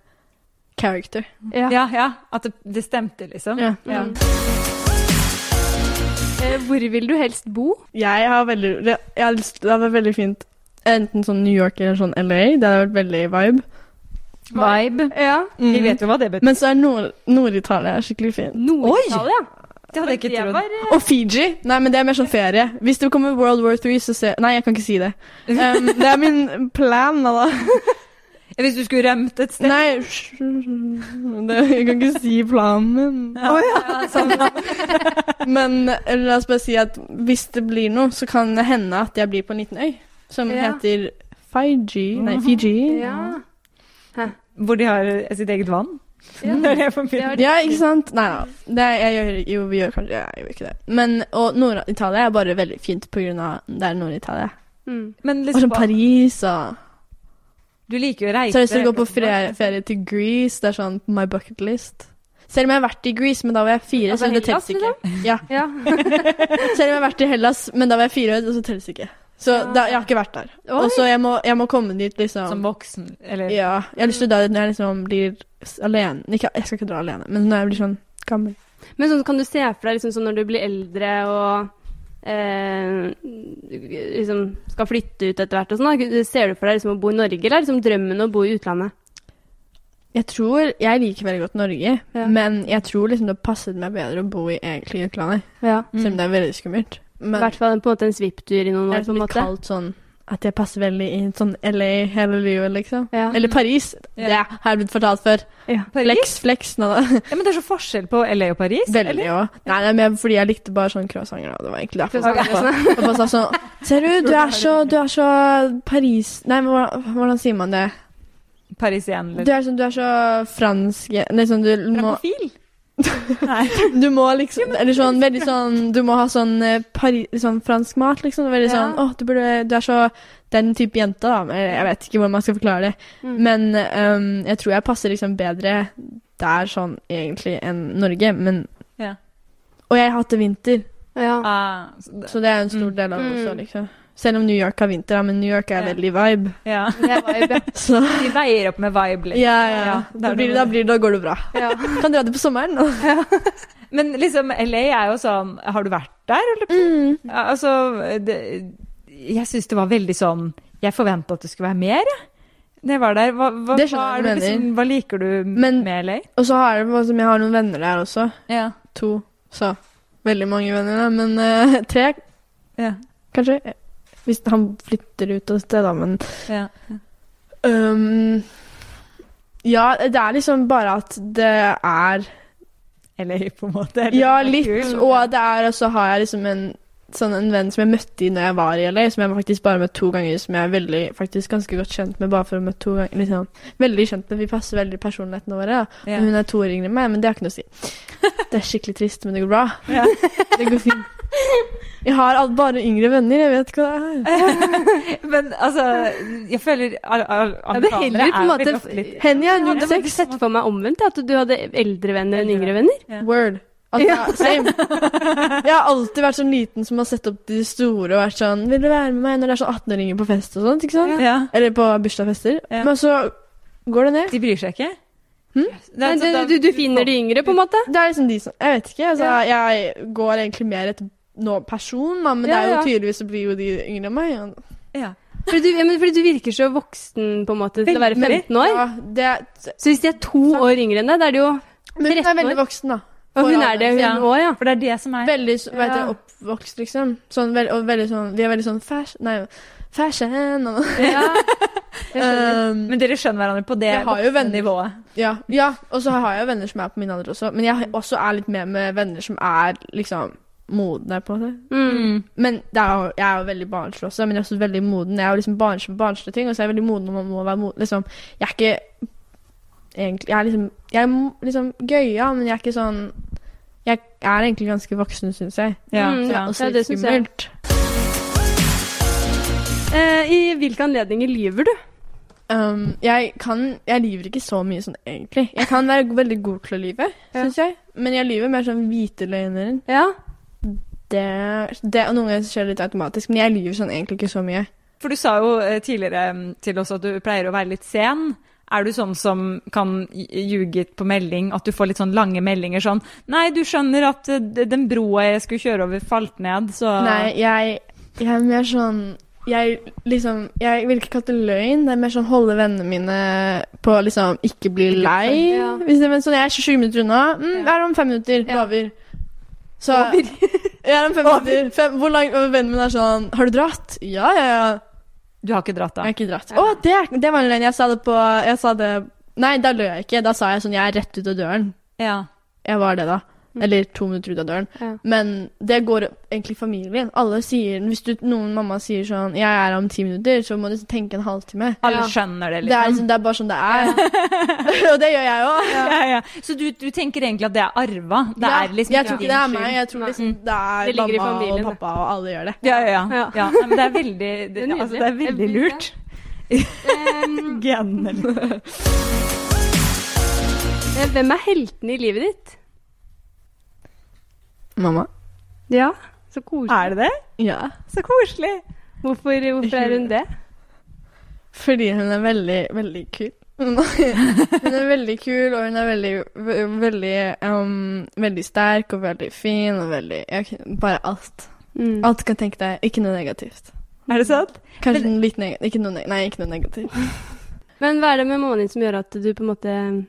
[SPEAKER 3] Character.
[SPEAKER 2] Ja. Mm.
[SPEAKER 1] Ja, ja. At det, det stemte, liksom.
[SPEAKER 3] Ja.
[SPEAKER 1] Ja.
[SPEAKER 2] Eh, Hvor vil du helst bo?
[SPEAKER 3] Jeg har veldig det, jeg har lyst, det hadde vært veldig fint. Enten sånn New York eller sånn LA. Det hadde vært veldig vibe.
[SPEAKER 1] Vibe.
[SPEAKER 2] Ja.
[SPEAKER 3] Mhm.
[SPEAKER 1] Vi vet jo hva det betyr.
[SPEAKER 3] Men så er Nord- Nord-Italia skikkelig fint.
[SPEAKER 2] Nord-Italia.
[SPEAKER 1] Det hadde jeg ikke trodd.
[SPEAKER 2] var, eh,
[SPEAKER 3] Og Fiji. Nei, men det er mer sånn ferie. Hvis det kommer World War 3, så ser Nei, jeg kan ikke si det. Um, det er min plan, da.
[SPEAKER 1] Hvis du skulle rømt et sted?
[SPEAKER 3] Nei det, Jeg kan ikke si planen min.
[SPEAKER 1] Ja. sånn.
[SPEAKER 3] Men eh, la oss bare si at hvis det blir noe, så kan det hende at jeg blir på en liten øy som
[SPEAKER 2] Ja.
[SPEAKER 3] heter Fiji Nei, Fiji.
[SPEAKER 2] eh, Ja.
[SPEAKER 1] Hvor de har eh, sitt eget vann?
[SPEAKER 2] Ja.
[SPEAKER 1] Det er det jeg forbinder.
[SPEAKER 2] Ja,
[SPEAKER 3] Ja, ikke sant? Nei da. Det, jeg gjør, jo, vi gjør kanskje Jeg gjør ikke det. Men, og Nord-Italia er bare veldig fint pga. det er Nord-Italia.
[SPEAKER 2] Mm.
[SPEAKER 1] Men
[SPEAKER 3] Og
[SPEAKER 1] liksom,
[SPEAKER 3] sånn Paris og
[SPEAKER 1] du liker jo å reise.
[SPEAKER 3] Så har jeg lyst til å gå på ferie, ferie til Greece. Det er sånn på my bucket list. Selv om jeg har vært i Greece, men da var jeg fire.
[SPEAKER 2] Altså
[SPEAKER 3] så det
[SPEAKER 2] Hellas,
[SPEAKER 3] telles ikke. Ja.
[SPEAKER 2] Ja.
[SPEAKER 3] Selv om jeg har vært i Hellas, men da var jeg fire, og så telles ikke. Så
[SPEAKER 2] Ja.
[SPEAKER 3] da, jeg har ikke vært der.
[SPEAKER 2] Oi.
[SPEAKER 3] Og så jeg, må- jeg må komme dit,
[SPEAKER 1] Som
[SPEAKER 3] liksom.
[SPEAKER 1] voksen, eller
[SPEAKER 3] Ja, jeg har lyst til å dra dit når jeg liksom blir s- alene. Ikke, jeg skal ikke dra alene, men når jeg blir sånn gammel.
[SPEAKER 2] Men sånn, kan du se for deg liksom, sånn når du blir eldre og eh, liksom skal flytte ut etter hvert og sånn, da, ser du for deg liksom, å bo i Norge, eller er liksom drømmen å bo i utlandet?
[SPEAKER 3] Jeg tror Jeg liker veldig godt Norge,
[SPEAKER 2] Ja.
[SPEAKER 3] men jeg tror liksom det har passet meg bedre å bo i egentlig utlandet.
[SPEAKER 2] Ja.
[SPEAKER 3] Selv om det er veldig skummelt.
[SPEAKER 2] I
[SPEAKER 3] Men
[SPEAKER 2] Mm. hvert fall på en måte en svipptur i noen år,
[SPEAKER 3] jeg er
[SPEAKER 2] på en
[SPEAKER 3] litt
[SPEAKER 2] måte.
[SPEAKER 3] kalt sånn at jeg passer veldig inn sånn LA hele livet, liksom.
[SPEAKER 2] Ja.
[SPEAKER 3] Eller Paris.
[SPEAKER 1] Ja.
[SPEAKER 3] Det har jeg blitt fortalt før.
[SPEAKER 2] Ja.
[SPEAKER 1] Paris?
[SPEAKER 3] Flex, flex. Nå, da.
[SPEAKER 1] Ja, men det er så forskjell på LA og Paris.
[SPEAKER 3] Veldig
[SPEAKER 1] eller?
[SPEAKER 3] òg. Nei, det er mer fordi jeg likte bare sånn croissanter. da. Det var egentlig derfor.
[SPEAKER 2] Croissanter,
[SPEAKER 3] Jeg bare sa sånn Ser du, du er så, du er så Paris... Nei, men hvordan, hvordan sier man det?
[SPEAKER 1] Parisien,
[SPEAKER 3] Du
[SPEAKER 1] eller?
[SPEAKER 3] er, sånn, du er så fransk Nei, sånn, du må,
[SPEAKER 1] Frankofil? Nei.
[SPEAKER 3] du må liksom Eller sånn veldig sånn Du må ha sånn, eh, Pari, sånn fransk mat, liksom. Veldig sånn
[SPEAKER 2] Ja.
[SPEAKER 3] Å, du burde Du er så Den type jente, da. Men Jeg vet ikke hvordan man skal forklare det.
[SPEAKER 2] Mm.
[SPEAKER 3] Men ehm, jeg tror jeg passer liksom bedre der sånn egentlig enn Norge, men
[SPEAKER 1] Ja.
[SPEAKER 3] Og jeg har hatt det vinter,
[SPEAKER 2] ja.
[SPEAKER 1] Ah, så det-
[SPEAKER 3] så det er en stor
[SPEAKER 1] Mm.
[SPEAKER 3] del av det også,
[SPEAKER 2] Mm.
[SPEAKER 3] liksom. Selv om New York har vinter, da, men New York er
[SPEAKER 1] Ja.
[SPEAKER 3] veldig vibe.
[SPEAKER 1] ja.
[SPEAKER 2] Det var jo bra.
[SPEAKER 3] Så
[SPEAKER 1] De veier opp med vibe.
[SPEAKER 3] ja,
[SPEAKER 1] Litt.
[SPEAKER 3] ja.
[SPEAKER 1] Ja,
[SPEAKER 3] da,
[SPEAKER 1] det er
[SPEAKER 3] blir,
[SPEAKER 1] det.
[SPEAKER 3] da, blir, da går det bra.
[SPEAKER 2] Ja.
[SPEAKER 3] Kan dra det på sommeren. da.
[SPEAKER 1] Men liksom, LA er jo sånn Har du vært der, eller? Ja, Altså, det, jeg syns det var veldig sånn Jeg forventa at det skulle være mer, jeg. Da jeg var der. Hva, hva,
[SPEAKER 3] Det skjønner
[SPEAKER 1] hva, er
[SPEAKER 3] jeg hva
[SPEAKER 1] det
[SPEAKER 3] du mener.
[SPEAKER 1] liksom, hva liker du
[SPEAKER 3] Men-
[SPEAKER 1] med LA?
[SPEAKER 3] Og så har jeg, som jeg har noen venner der også.
[SPEAKER 1] Ja.
[SPEAKER 3] To. Så veldig mange venner, da. Men eh, tre,
[SPEAKER 1] Ja.
[SPEAKER 3] kanskje. Hvis han flytter ut av sted, da, men
[SPEAKER 1] ja.
[SPEAKER 3] Øhm, ja, det er liksom bare at det er
[SPEAKER 1] LA, på en måte. eller?
[SPEAKER 3] Ja,
[SPEAKER 1] Det
[SPEAKER 3] litt.
[SPEAKER 1] er kult.
[SPEAKER 3] Og det er, og så har jeg liksom en sånn en venn som jeg møtte i når jeg var i LA, som jeg faktisk bare møtte to ganger, som jeg er veldig, faktisk ganske godt kjent med bare for å møte to ganger. Liksom. Veldig kjent med, vi passer veldig personlighetene våre. Da.
[SPEAKER 1] Ja.
[SPEAKER 3] Og Hun er to år yngre enn meg, men det har ikke noe å si. Det er skikkelig trist, men det går bra.
[SPEAKER 1] Ja.
[SPEAKER 3] Det går fint. Jeg har all- bare yngre venner, jeg vet ikke hva det er.
[SPEAKER 1] Men altså, jeg føler al- al-
[SPEAKER 2] Jeg ble
[SPEAKER 1] Amerikanere
[SPEAKER 2] heller på en
[SPEAKER 1] er veldig ofte
[SPEAKER 2] måte
[SPEAKER 1] litt
[SPEAKER 3] Henny er
[SPEAKER 2] Jeg hadde
[SPEAKER 3] 06.
[SPEAKER 2] sett for meg omvendt, at du hadde eldre venner enn yngre venner.
[SPEAKER 3] Word. Altså, same. Jeg har alltid vært sånn liten som har sett opp til de store og vært sånn Vil du være med meg når det er sånn 18-åringer på fest og sånt? ikke sant?
[SPEAKER 1] ja.
[SPEAKER 3] Eller på bursdagsfester.
[SPEAKER 1] Ja.
[SPEAKER 3] Men så går det ned.
[SPEAKER 1] De bryr seg ikke? altså
[SPEAKER 3] Hm?
[SPEAKER 2] Nei, altså, du, du, du finner de yngre, på en måte.
[SPEAKER 3] Det er liksom de som Jeg vet ikke. Altså, jeg går egentlig mer etter nå person, da, men det
[SPEAKER 2] Ja,
[SPEAKER 3] er jo
[SPEAKER 2] ja.
[SPEAKER 3] tydeligvis så blir jo de yngre enn meg. og-
[SPEAKER 1] Ja.
[SPEAKER 2] Fordi du, ja, men fordi du virker så voksen på en måte til å være
[SPEAKER 3] Men-
[SPEAKER 2] 15 år.
[SPEAKER 3] Ja, det er,
[SPEAKER 2] Så hvis de er to
[SPEAKER 1] Sånn.
[SPEAKER 2] år yngre enn deg, da er det jo
[SPEAKER 3] men hun er
[SPEAKER 2] 13 år.
[SPEAKER 3] veldig voksen, da.
[SPEAKER 2] Og hun
[SPEAKER 3] For
[SPEAKER 2] er det,
[SPEAKER 1] Ja.
[SPEAKER 2] hun òg, ja.
[SPEAKER 1] For det er det som er
[SPEAKER 3] Veldig så- hva heter
[SPEAKER 2] Ja.
[SPEAKER 3] det, oppvokst, liksom. Sånn, veld, og veldig sånn Vi er veldig sånn fashion Nei, fashion og
[SPEAKER 2] ja. Jeg skjønner.
[SPEAKER 3] Ehm,
[SPEAKER 1] Um, Men dere skjønner hverandre på det
[SPEAKER 3] Jeg har jo venner.
[SPEAKER 1] nivået?
[SPEAKER 3] Ja, ja. og så har jeg jo venner som er på min alder også. Men jeg har- også er litt mer med venner som er liksom modne, på en måte.
[SPEAKER 2] Mm.
[SPEAKER 3] Men det er jo, jeg er jo veldig barnslig også, men jeg er også veldig moden. Jeg er jo liksom barnslig på barnslige ting, og så er jeg veldig moden når man må være moden. Liksom, jeg er ikke egentlig Jeg er liksom, jeg er mo- liksom gøya, men jeg er ikke sånn Jeg er egentlig ganske voksen, syns jeg.
[SPEAKER 1] Ja.
[SPEAKER 2] Mm,
[SPEAKER 3] Så
[SPEAKER 1] ja.
[SPEAKER 3] er også
[SPEAKER 2] ja,
[SPEAKER 3] litt
[SPEAKER 2] det synes jeg.
[SPEAKER 3] skummelt.
[SPEAKER 2] Eh, I hvilke anledninger lyver du?
[SPEAKER 3] Um, jeg kan Jeg lyver ikke så mye sånn egentlig. Jeg kan være veldig god til å lyve,
[SPEAKER 2] Ja.
[SPEAKER 3] syns jeg. Men jeg lyver mer sånn hvite løgner.
[SPEAKER 2] Ja.
[SPEAKER 3] Det, det og Noen ganger så skjer det litt automatisk, men jeg lyver sånn egentlig ikke så mye.
[SPEAKER 1] For du sa jo eh, tidligere mm, til oss at du pleier å være litt sen. Er du sånn som kan j- ljuge på melding, at du får litt sånn lange meldinger sånn 'Nei, du skjønner at eh, d- den broa jeg skulle kjøre over, falt ned', så
[SPEAKER 3] Nei, jeg, jeg er mer sånn jeg, liksom, jeg vil ikke kalle det løgn. Det er mer sånn holde vennene mine på å liksom ikke bli lei.
[SPEAKER 2] Ja.
[SPEAKER 3] Hvis det, men sånn, jeg er 27 minutter unna. Mm,
[SPEAKER 2] Ja.
[SPEAKER 3] jeg er om fem minutter.
[SPEAKER 2] Ja.
[SPEAKER 3] Over. Så jeg er om fem minutter. Fem, hvor langt og vennen min er sånn Har du dratt? Ja, ja, ja.
[SPEAKER 1] Du har ikke dratt, da?
[SPEAKER 3] Jeg har ikke dratt. Å, det, det var en løgn. Jeg sa det på jeg sa det, Nei, da løy jeg ikke. Da sa jeg sånn Jeg er rett ut av døren.
[SPEAKER 1] Ja.
[SPEAKER 3] Jeg var det, da.
[SPEAKER 2] Mm.
[SPEAKER 3] Eller to minutter ut av døren.
[SPEAKER 2] Ja.
[SPEAKER 3] Men det går egentlig i familien. Alle sier Hvis du, noen mamma sier sånn 'Jeg er her om ti minutter', så må du tenke en halvtime.
[SPEAKER 1] Alle
[SPEAKER 2] Ja.
[SPEAKER 1] skjønner det,
[SPEAKER 3] Det er,
[SPEAKER 1] liksom?
[SPEAKER 3] liksom, det er bare sånn det er. og det gjør jeg òg.
[SPEAKER 1] Ja, ja. Så du, du tenker egentlig at det er arva? Det er liksom
[SPEAKER 3] jeg
[SPEAKER 1] ikke
[SPEAKER 3] tror ikke
[SPEAKER 1] din
[SPEAKER 3] det er
[SPEAKER 1] skyld.
[SPEAKER 3] meg. Jeg tror
[SPEAKER 2] Nei.
[SPEAKER 3] liksom det
[SPEAKER 2] Det
[SPEAKER 3] er
[SPEAKER 2] ligger i
[SPEAKER 3] mamma
[SPEAKER 2] familien,
[SPEAKER 3] og
[SPEAKER 2] det.
[SPEAKER 3] pappa, og alle gjør det.
[SPEAKER 1] Ja, ja, ja.
[SPEAKER 2] Ja.
[SPEAKER 1] ja. Nei, men det er veldig, det,
[SPEAKER 2] er nydelig.
[SPEAKER 1] altså, det er veldig
[SPEAKER 2] Jeg blir-
[SPEAKER 1] lurt.
[SPEAKER 2] Ehm,
[SPEAKER 1] Genene.
[SPEAKER 2] eh, hvem er heltene i livet ditt?
[SPEAKER 3] Mamma?
[SPEAKER 2] Ja, så koselig.
[SPEAKER 1] Er det det?
[SPEAKER 3] Ja.
[SPEAKER 1] Så koselig.
[SPEAKER 2] Hvorfor, hvorfor er hun det?
[SPEAKER 3] Fordi hun er veldig, veldig kul. hun er veldig kul, og hun er veldig, ve- veldig, um, veldig sterk og veldig fin og veldig ja, ok, Bare alt.
[SPEAKER 2] Mm.
[SPEAKER 3] Alt du kan tenke deg. Ikke noe negativt.
[SPEAKER 1] Er det sant?
[SPEAKER 3] Kanskje litt negativt. Ikke noe, neg- nei, ikke noe negativt.
[SPEAKER 2] Men hva er det med mammaen din som gjør at du på en måte
[SPEAKER 1] Hm?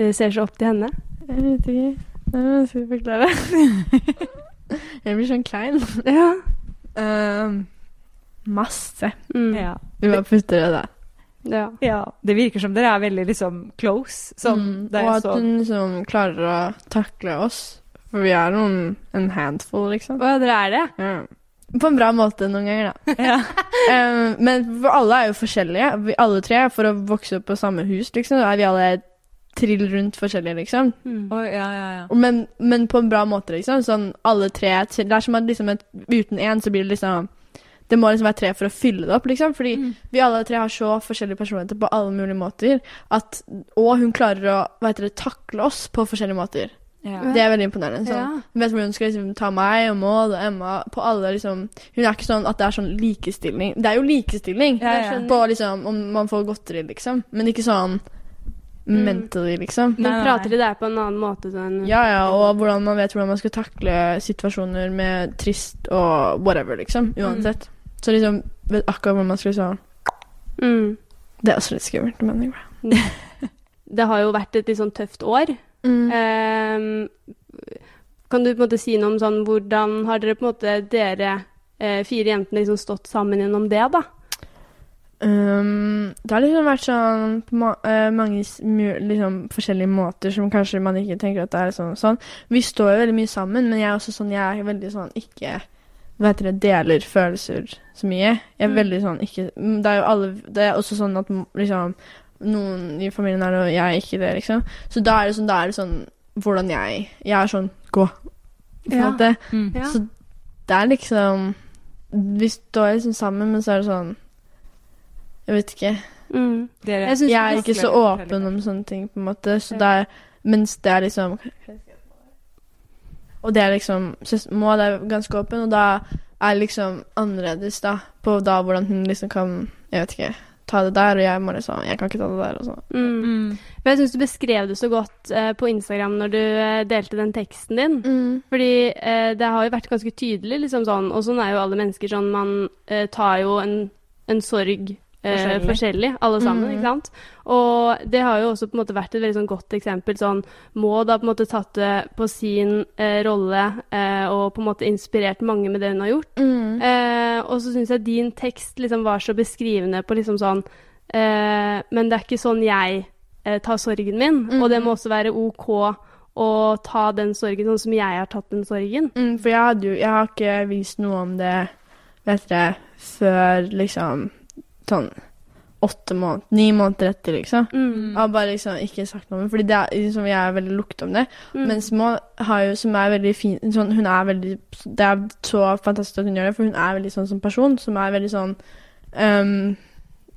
[SPEAKER 3] Hæ?
[SPEAKER 2] eh, ser så opp til henne?
[SPEAKER 3] Jeg vet ikke. Det er vanskelig å forklare. Jeg blir sånn klein.
[SPEAKER 2] Ja.
[SPEAKER 3] Um, masse.
[SPEAKER 2] Mm.
[SPEAKER 1] Ja.
[SPEAKER 3] Vi var putter det da.
[SPEAKER 2] ja.
[SPEAKER 1] ja. Det virker som dere er veldig liksom close. Sånn,
[SPEAKER 3] Mm,
[SPEAKER 1] da
[SPEAKER 3] og
[SPEAKER 1] jeg
[SPEAKER 3] at
[SPEAKER 1] så
[SPEAKER 3] hun liksom klarer å takle oss. For vi er noen en handful, liksom.
[SPEAKER 2] Å ja, dere er det?
[SPEAKER 3] Ja. På en bra måte noen ganger, da.
[SPEAKER 1] ja.
[SPEAKER 3] Eh, men for alle er jo forskjellige. Vi, alle tre, for å vokse opp på samme hus, liksom, da er vi alle trill rundt forskjellige, liksom.
[SPEAKER 2] Mm.
[SPEAKER 1] Oi, ja, ja, ja.
[SPEAKER 3] Men, men på en bra måte, liksom. Sånn alle tre Det er som at liksom et, uten én, så blir det liksom Det må liksom være tre for å fylle det opp, liksom. Fordi
[SPEAKER 1] Mm.
[SPEAKER 3] vi alle tre har så forskjellige personligheter på alle mulige måter. At, og hun klarer å hva heter det, takle oss på forskjellige måter.
[SPEAKER 1] Ja.
[SPEAKER 3] Det er veldig imponerende. Sånn.
[SPEAKER 2] Ja.
[SPEAKER 3] Hun vet hvordan hun skal liksom, ta meg og Maud og Emma på alle liksom Hun er ikke sånn at det er sånn likestilling. Det er jo likestilling
[SPEAKER 1] Ja, ja.
[SPEAKER 3] på liksom om man får godteri, liksom. Men ikke sånn
[SPEAKER 2] Mm.
[SPEAKER 3] mentally, liksom.
[SPEAKER 2] Men
[SPEAKER 1] Nei, nei,
[SPEAKER 2] prater
[SPEAKER 1] nei.
[SPEAKER 2] de der på en annen måte? Sånn,
[SPEAKER 3] Ja, ja, og hvordan man vet hvordan man skal takle situasjoner med trist og whatever, liksom. Uansett. Så liksom vet akkurat hvordan man skal liksom
[SPEAKER 2] Mm.
[SPEAKER 3] Det er også litt skummelt, men anyway.
[SPEAKER 2] Det har jo vært et litt sånn tøft år.
[SPEAKER 3] Mm.
[SPEAKER 2] Ehm, kan du på en måte si noe om sånn hvordan har dere på en måte dere eh, fire jentene liksom stått sammen gjennom det, da?
[SPEAKER 3] Um, det har liksom vært sånn på ma eh, mange s- mu- liksom, forskjellige måter som kanskje man ikke tenker at det er sånn og sånn. Vi står jo veldig mye sammen, men jeg er også sånn, jeg er veldig sånn ikke hva heter det, deler følelser så mye. Jeg er
[SPEAKER 2] Mm.
[SPEAKER 3] veldig sånn ikke mm, Det er jo alle Det er også sånn at mm, liksom noen i familien er det, og jeg er ikke det, liksom. Så da er det sånn, da er det sånn hvordan jeg Jeg er sånn gå, på en
[SPEAKER 2] Ja.
[SPEAKER 3] måte.
[SPEAKER 1] Mm.
[SPEAKER 2] Ja.
[SPEAKER 3] Så det er liksom Vi står liksom sammen, men så er det sånn Jeg vet ikke.
[SPEAKER 2] Mm.
[SPEAKER 1] Dere,
[SPEAKER 2] Jeg synes
[SPEAKER 3] Jeg er
[SPEAKER 2] det
[SPEAKER 3] ikke så åpen om sånne ting, på en måte. Så det er, mens det er liksom Og det er liksom søs- Maud er ganske åpen, og da er liksom annerledes, da. På da hvordan hun liksom kan Jeg vet ikke. Ta det der, og jeg må liksom Jeg kan ikke ta det der, og så.
[SPEAKER 2] Mm.
[SPEAKER 1] mm.
[SPEAKER 2] For jeg syns du beskrev det så godt eh, på Instagram når du eh, delte den teksten din. Fordi eh, det har jo vært ganske tydelig, liksom sånn, og sånn er jo alle mennesker sånn, man eh, tar jo en, en sorg eh,
[SPEAKER 1] Forskjellig.
[SPEAKER 2] forskjellig. alle sammen,
[SPEAKER 3] Mhm.
[SPEAKER 2] ikke sant? Og det har jo også på en måte vært et veldig sånn godt eksempel, sånn, må da på en måte tatt det på sin eh, rolle, eh, og på en måte inspirert mange med det hun har gjort. Eh, og så syns jeg din tekst liksom var så beskrivende på liksom sånn eh, Men det er ikke sånn jeg eh, tar sorgen min, og
[SPEAKER 3] Mhm.
[SPEAKER 2] det må også være OK å ta den sorgen sånn som jeg har tatt den sorgen.
[SPEAKER 3] Mm, for jeg hadde jo Jeg har ikke vist noe om det, vet dere, før liksom sånn åtte måneder Ni måneder etter, liksom.
[SPEAKER 2] Mm.
[SPEAKER 3] Jeg har bare liksom ikke sagt noe om det, fordi det er, liksom, jeg er veldig lukket om det.
[SPEAKER 2] Mm.
[SPEAKER 3] Mens Maud har jo, som er veldig fin sånn, Hun er veldig Det er så fantastisk at hun gjør det, for hun er veldig sånn som person, som er veldig sånn ehm,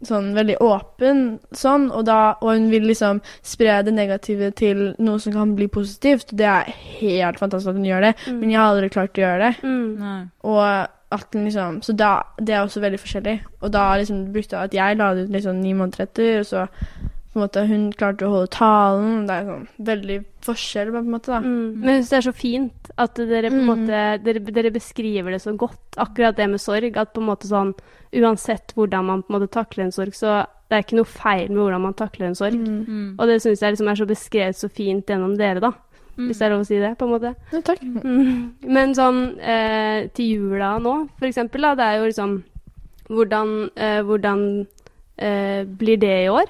[SPEAKER 3] Sånn veldig åpen sånn, og, da, og hun vil liksom spre det negative til noe som kan bli positivt. Det er helt fantastisk at hun gjør det,
[SPEAKER 2] Mm.
[SPEAKER 3] men jeg har aldri klart å gjøre det.
[SPEAKER 2] Mm.
[SPEAKER 1] Nei.
[SPEAKER 3] Og at den liksom Så da Det er også veldig forskjellig. Og da liksom brukte jeg at jeg la det ut liksom ni måneder etter, og så på en måte Hun klarte å holde talen. Det er sånn veldig forskjell, på en måte, da.
[SPEAKER 2] Mm. Men jeg syns det er så fint at dere på en
[SPEAKER 3] Mm.
[SPEAKER 2] måte dere, dere beskriver det så godt, akkurat det med sorg. At på en måte sånn Uansett hvordan man på en måte takler en sorg, så det er ikke noe feil med hvordan man takler en sorg.
[SPEAKER 3] Mm.
[SPEAKER 1] Mm.
[SPEAKER 2] Og det syns jeg liksom er så beskrevet så fint gjennom dere, da.
[SPEAKER 1] Mm.
[SPEAKER 2] Hvis det er lov å si det, på en måte.
[SPEAKER 3] Ja, takk.
[SPEAKER 2] Mm. Men sånn eh, til jula nå, for eksempel, da, det er jo liksom Hvordan, eh, hvordan eh, blir det i år?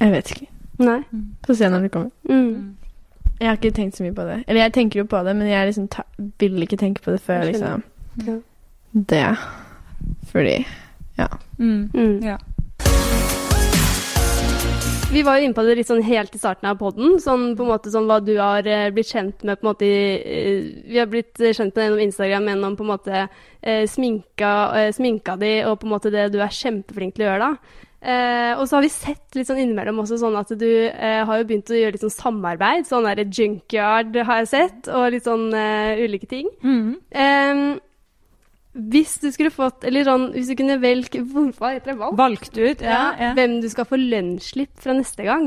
[SPEAKER 3] Jeg vet ikke.
[SPEAKER 2] Nei.
[SPEAKER 3] Få se når det kommer.
[SPEAKER 2] Mm.
[SPEAKER 3] Jeg har ikke tenkt så mye på det. Eller jeg tenker jo på det, men jeg liksom ta vil ikke tenke på det før
[SPEAKER 2] Jeg skjønner.
[SPEAKER 3] liksom Det. Fordi
[SPEAKER 1] Mm.
[SPEAKER 2] Mm.
[SPEAKER 1] Ja.
[SPEAKER 2] Vi var jo inne på det litt sånn helt i starten av podden, sånn på en måte sånn hva du har eh, blitt kjent med på en måte i eh, Vi har blitt eh, kjent med det gjennom Instagram, gjennom på en måte eh, sminka, eh, sminka di og på en måte det du er kjempeflink til å gjøre da. Eh, og så har vi sett litt sånn innimellom også sånn at du eh, har jo begynt å gjøre litt sånn samarbeid, sånn derre junkyard har jeg sett, og litt sånn eh, ulike ting.
[SPEAKER 1] Mm.
[SPEAKER 2] Ehm, hvis du skulle fått, eller sånn, hvis du kunne velge Hva heter det? Valg?
[SPEAKER 1] Valgt ut, ja. ja.
[SPEAKER 2] Hvem du skal få lønnsslipp fra neste gang.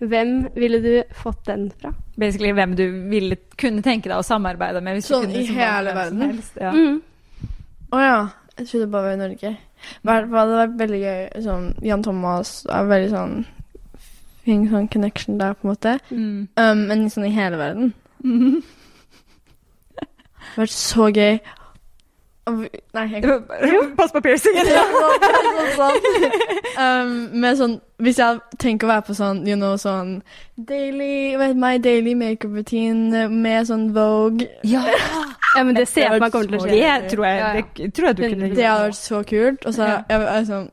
[SPEAKER 2] Hvem ville du fått den fra?
[SPEAKER 1] Basically hvem du ville kunne tenke deg å samarbeide med. Hvis
[SPEAKER 3] Sånn
[SPEAKER 1] du kunne,
[SPEAKER 3] i
[SPEAKER 1] liksom valgt
[SPEAKER 3] hele
[SPEAKER 1] hvem som
[SPEAKER 3] verden?
[SPEAKER 1] helst, Ja.
[SPEAKER 2] Mm.
[SPEAKER 3] Å ja. Jeg trodde det bare var i Norge. Hva hva hadde vært veldig gøy sånn, Jan Thomas er veldig sånn Fin sånn connection der, på en måte.
[SPEAKER 1] Mm.
[SPEAKER 3] Um, men sånn i hele verden. Det hadde vært så gøy. Og vi- Nei, jeg
[SPEAKER 1] Pass på piercingen!
[SPEAKER 3] Ja, sånn, sånn, sånn. um, med sånn Hvis jeg tenker å være på sånn, you know, sånn daily, vet, My daily makeup routine med sånn Vogue
[SPEAKER 1] Ja,
[SPEAKER 2] Ja, men det ser jeg
[SPEAKER 3] Det
[SPEAKER 2] for
[SPEAKER 3] var
[SPEAKER 2] meg kommer til å skje.
[SPEAKER 1] det tror jeg,
[SPEAKER 2] Ja, ja.
[SPEAKER 1] Det, tror jeg du kunne
[SPEAKER 2] Det
[SPEAKER 3] Det hadde vært så kult. Og så
[SPEAKER 1] Ja.
[SPEAKER 3] jeg, jeg, sånn,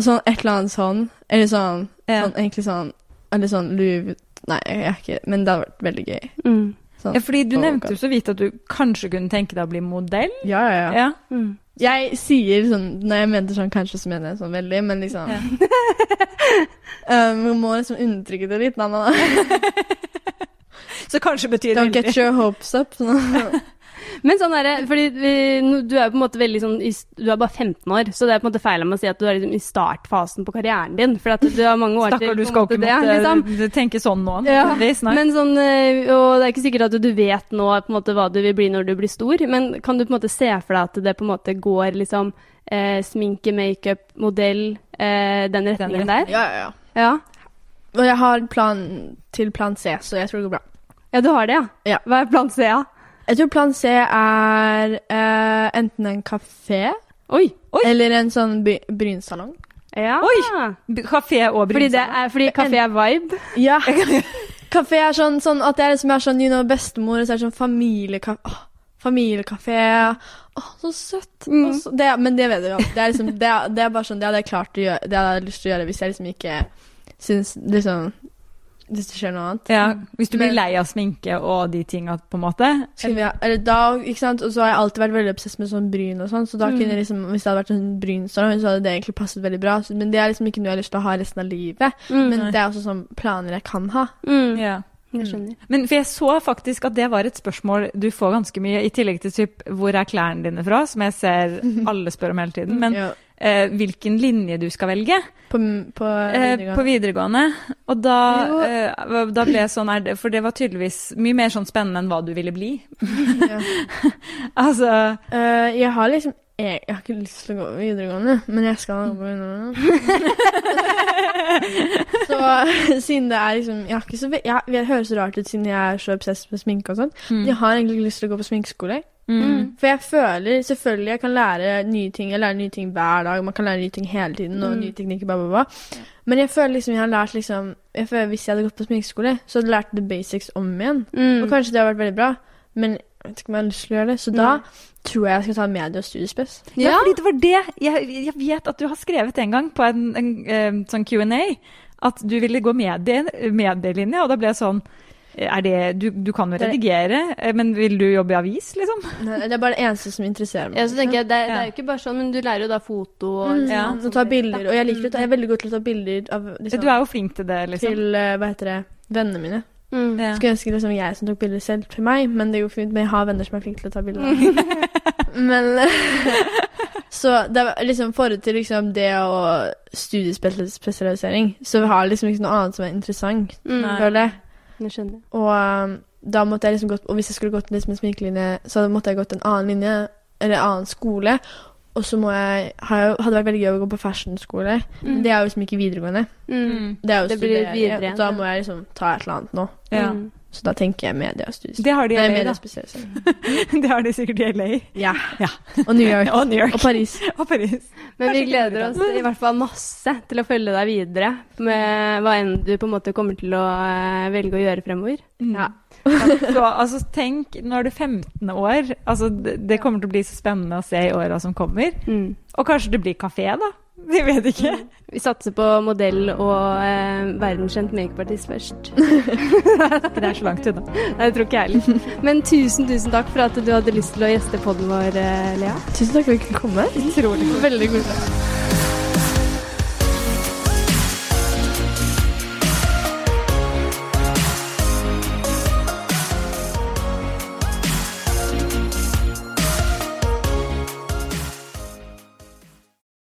[SPEAKER 3] og sånn et eller annet sånn Eller sånn,
[SPEAKER 1] Ja.
[SPEAKER 3] sånn egentlig sånn Eller sånn Louis Vu- Nei, jeg er ikke Men det hadde vært veldig gøy.
[SPEAKER 2] Mm.
[SPEAKER 3] Sånn.
[SPEAKER 1] Ja, fordi du
[SPEAKER 3] Vogue.
[SPEAKER 1] nevnte jo så vidt at du kanskje kunne tenke deg å bli modell.
[SPEAKER 3] Ja, ja, ja.
[SPEAKER 1] Ja.
[SPEAKER 2] Mm.
[SPEAKER 3] Jeg sier sånn Når jeg mente sånn, kanskje så mener jeg sånn veldig, men liksom
[SPEAKER 1] Ja.
[SPEAKER 3] um, Man må liksom undertrykke det litt. Nei, nei, nei.
[SPEAKER 1] Så kanskje betyr det
[SPEAKER 3] Don't get your hopes up. Sånn.
[SPEAKER 2] Men sånn er det, fordi vi, no- du er jo på en måte veldig sånn i, s- Du er bare 15 år, så det er på en måte feil av meg å si at du er liksom i startfasen på karrieren din. For at du har mange år
[SPEAKER 1] Stakkar, du
[SPEAKER 2] på en
[SPEAKER 1] skal
[SPEAKER 2] måte
[SPEAKER 1] ikke
[SPEAKER 2] det,
[SPEAKER 1] måtte
[SPEAKER 2] liksom.
[SPEAKER 1] tenke sånn nå.
[SPEAKER 2] Ja,
[SPEAKER 1] Det er snart.
[SPEAKER 2] Men sånn, eh, og det er ikke sikkert at du vet nå på en måte hva du vil bli når du blir stor, men kan du på en måte se for deg at det på en måte går liksom eh, sminke, makeup, modell, eh, den retningen der?
[SPEAKER 3] Ja, ja, ja.
[SPEAKER 2] Ja.
[SPEAKER 3] Og jeg har plan til plan C, så jeg tror det går bra.
[SPEAKER 2] ja, du har det, ja.
[SPEAKER 3] Ja.
[SPEAKER 2] Hva er plan C, ja?
[SPEAKER 3] Jeg tror plan C er eh, enten en kafé
[SPEAKER 2] Oi!
[SPEAKER 1] Oi.
[SPEAKER 3] eller en sånn by brynsalong.
[SPEAKER 2] Ja.
[SPEAKER 1] Oi. B- Kafé og
[SPEAKER 2] Fordi, det
[SPEAKER 1] brunsalong.
[SPEAKER 2] er, fordi kafé er vibe.
[SPEAKER 3] Ja. kafé er sånn, sånn at jeg liksom er sånn you know, bestemor, og så er det sånn familiekafé. Åh, familiekafé. Åh, så søtt.
[SPEAKER 2] Mm.
[SPEAKER 3] Og så, det, men det vet du jo. Det er, liksom, det, er- det er bare sånn, det hadde jeg klart å gjøre, det hadde jeg lyst til å gjøre hvis jeg liksom ikke syns liksom, Hvis det skjer noe annet.
[SPEAKER 1] Ja, hvis du blir
[SPEAKER 3] Men-
[SPEAKER 1] lei av sminke og de tinga, på en måte.
[SPEAKER 3] Skulle vi ha, eller da, ikke sant? Og så har jeg alltid vært veldig obsess med sånn bryn og sånn, så da
[SPEAKER 2] Mm.
[SPEAKER 3] kunne jeg liksom, hvis det hadde vært en brynsalong, så hadde det egentlig passet veldig bra. Så, men det er liksom ikke noe jeg har lyst til å ha resten av livet.
[SPEAKER 2] Mm.
[SPEAKER 3] Men
[SPEAKER 1] Nei.
[SPEAKER 3] det er også sånn planer jeg kan ha.
[SPEAKER 2] Mm.
[SPEAKER 1] Ja.
[SPEAKER 2] Jeg skjønner.
[SPEAKER 1] Men for jeg så faktisk at det var et spørsmål du får ganske mye, i tillegg til typ 'hvor er klærne dine fra?', som jeg ser alle spør om hele tiden. Men
[SPEAKER 3] Ja,
[SPEAKER 1] eh, hvilken linje du skal velge
[SPEAKER 3] på, på
[SPEAKER 1] eh, på
[SPEAKER 3] videregående.
[SPEAKER 1] videregående. Og da,
[SPEAKER 3] Jo.
[SPEAKER 1] eh, da ble jeg sånn er det, For det var tydeligvis mye mer sånn spennende enn hva du ville bli.
[SPEAKER 3] ja.
[SPEAKER 1] Altså
[SPEAKER 3] Eh, jeg har liksom jeg, jeg har ikke lyst til å gå på videregående, men jeg skal gå på videregående. så siden det er liksom Jeg, har ikke så, ve- jeg, jeg høres så rart ut siden jeg er så obsess med sminke og sånn.
[SPEAKER 1] mm,
[SPEAKER 3] Jeg har egentlig ikke lyst til å gå på sminkeskole.
[SPEAKER 1] mm,
[SPEAKER 3] For jeg føler selvfølgelig jeg kan lære nye ting. Jeg lærer nye ting hver dag. Man kan lære nye ting hele tiden. Og
[SPEAKER 2] Mm.
[SPEAKER 3] nye teknikker, bla, bla, bla. Men jeg føler liksom jeg har lært liksom jeg føler Hvis jeg hadde gått på sminkeskole, så hadde jeg lært the basics om igjen. Og
[SPEAKER 2] Mm.
[SPEAKER 3] kanskje det har vært veldig bra, men jeg vet ikke om jeg har lyst til å gjøre det. Så da
[SPEAKER 2] Nei.
[SPEAKER 3] tror jeg jeg skal ta medie- og studiespes.
[SPEAKER 1] Ja,
[SPEAKER 2] Ja.
[SPEAKER 1] fordi det var det jeg, jeg vet at du har skrevet en gang på en, en, eh, sånn Q&A at du ville gå medie, medielinje, og da ble jeg sånn er det, du, du kan jo
[SPEAKER 3] Det-
[SPEAKER 1] redigere, eh, men vil du jobbe i avis, liksom?
[SPEAKER 3] Nei, det er bare det eneste som interesserer meg.
[SPEAKER 2] Ja, så tenker jeg, det, er- det
[SPEAKER 1] Ja.
[SPEAKER 2] er jo ikke bare sånn, men du lærer jo da foto og
[SPEAKER 3] Mm,
[SPEAKER 2] liksom
[SPEAKER 1] Ja.
[SPEAKER 2] alt
[SPEAKER 3] å
[SPEAKER 2] sånt
[SPEAKER 3] ta
[SPEAKER 2] dritt,
[SPEAKER 3] bilder.
[SPEAKER 2] da.
[SPEAKER 3] Og jeg liker å ta,
[SPEAKER 2] Mm.
[SPEAKER 3] jeg er veldig god til å ta bilder av liksom,
[SPEAKER 1] Du er jo flink til det, liksom.
[SPEAKER 3] til eh, hva heter det, vennene mine.
[SPEAKER 2] Mm.
[SPEAKER 1] Ja.
[SPEAKER 3] Skulle ønske liksom jeg som tok bilder selv til meg, men det går fint. Men jeg har venner som er flinke til å ta bilder. men Så det er liksom forhold til liksom det og studiespesialisering, så vi har liksom ikke noe annet som er interessant,
[SPEAKER 2] Mm.
[SPEAKER 1] Nei.
[SPEAKER 3] føler jeg.
[SPEAKER 2] Jeg skjønner.
[SPEAKER 3] Og um, da måtte jeg liksom gått, og hvis jeg skulle gått liksom en sminkelinje, så hadde- måtte jeg gått en annen linje, eller en annen skole. Og så må jeg, har jeg, hadde det vært veldig gøy å gå på fashionskole. Men Det er jo liksom ikke videregående.
[SPEAKER 2] Mm.
[SPEAKER 1] Mm.
[SPEAKER 3] Det er jo
[SPEAKER 2] Det blir
[SPEAKER 3] studere,
[SPEAKER 2] videre,
[SPEAKER 3] og Da
[SPEAKER 2] ja.
[SPEAKER 3] må jeg liksom ta et eller annet nå.
[SPEAKER 1] Ja.
[SPEAKER 2] Mm.
[SPEAKER 3] Så da tenker jeg media og studiespesialisering.
[SPEAKER 1] Det har de i
[SPEAKER 3] Nei,
[SPEAKER 1] LA, da.
[SPEAKER 3] mediespesialisering.
[SPEAKER 1] Det har de sikkert i LA.
[SPEAKER 3] Ja.
[SPEAKER 1] Ja.
[SPEAKER 3] Og New York.
[SPEAKER 1] Og New York.
[SPEAKER 3] Og Paris.
[SPEAKER 1] Og Paris.
[SPEAKER 2] Men vi
[SPEAKER 1] Kanskje ikke
[SPEAKER 2] gleder oss i hvert fall masse til å følge deg videre med hva enn du på en måte kommer til å eh, velge å gjøre fremover.
[SPEAKER 1] Ja. Så altså, tenk, nå er du 15 år. Altså, det det kommer til å bli så spennende å se i åra som kommer.
[SPEAKER 2] Mm.
[SPEAKER 1] Og kanskje det blir kafé, da. Vi vet ikke.
[SPEAKER 2] Vi satser på modell og eh, verdenskjent makeupartist først.
[SPEAKER 1] Det er så langt unna.
[SPEAKER 2] Nei, det tror ikke jeg heller. Men tusen, tusen takk for at du hadde lyst til å gjeste podden vår, eh, Lea.
[SPEAKER 3] Tusen takk for at du kunne komme.
[SPEAKER 1] Utrolig.
[SPEAKER 3] Veldig koselig.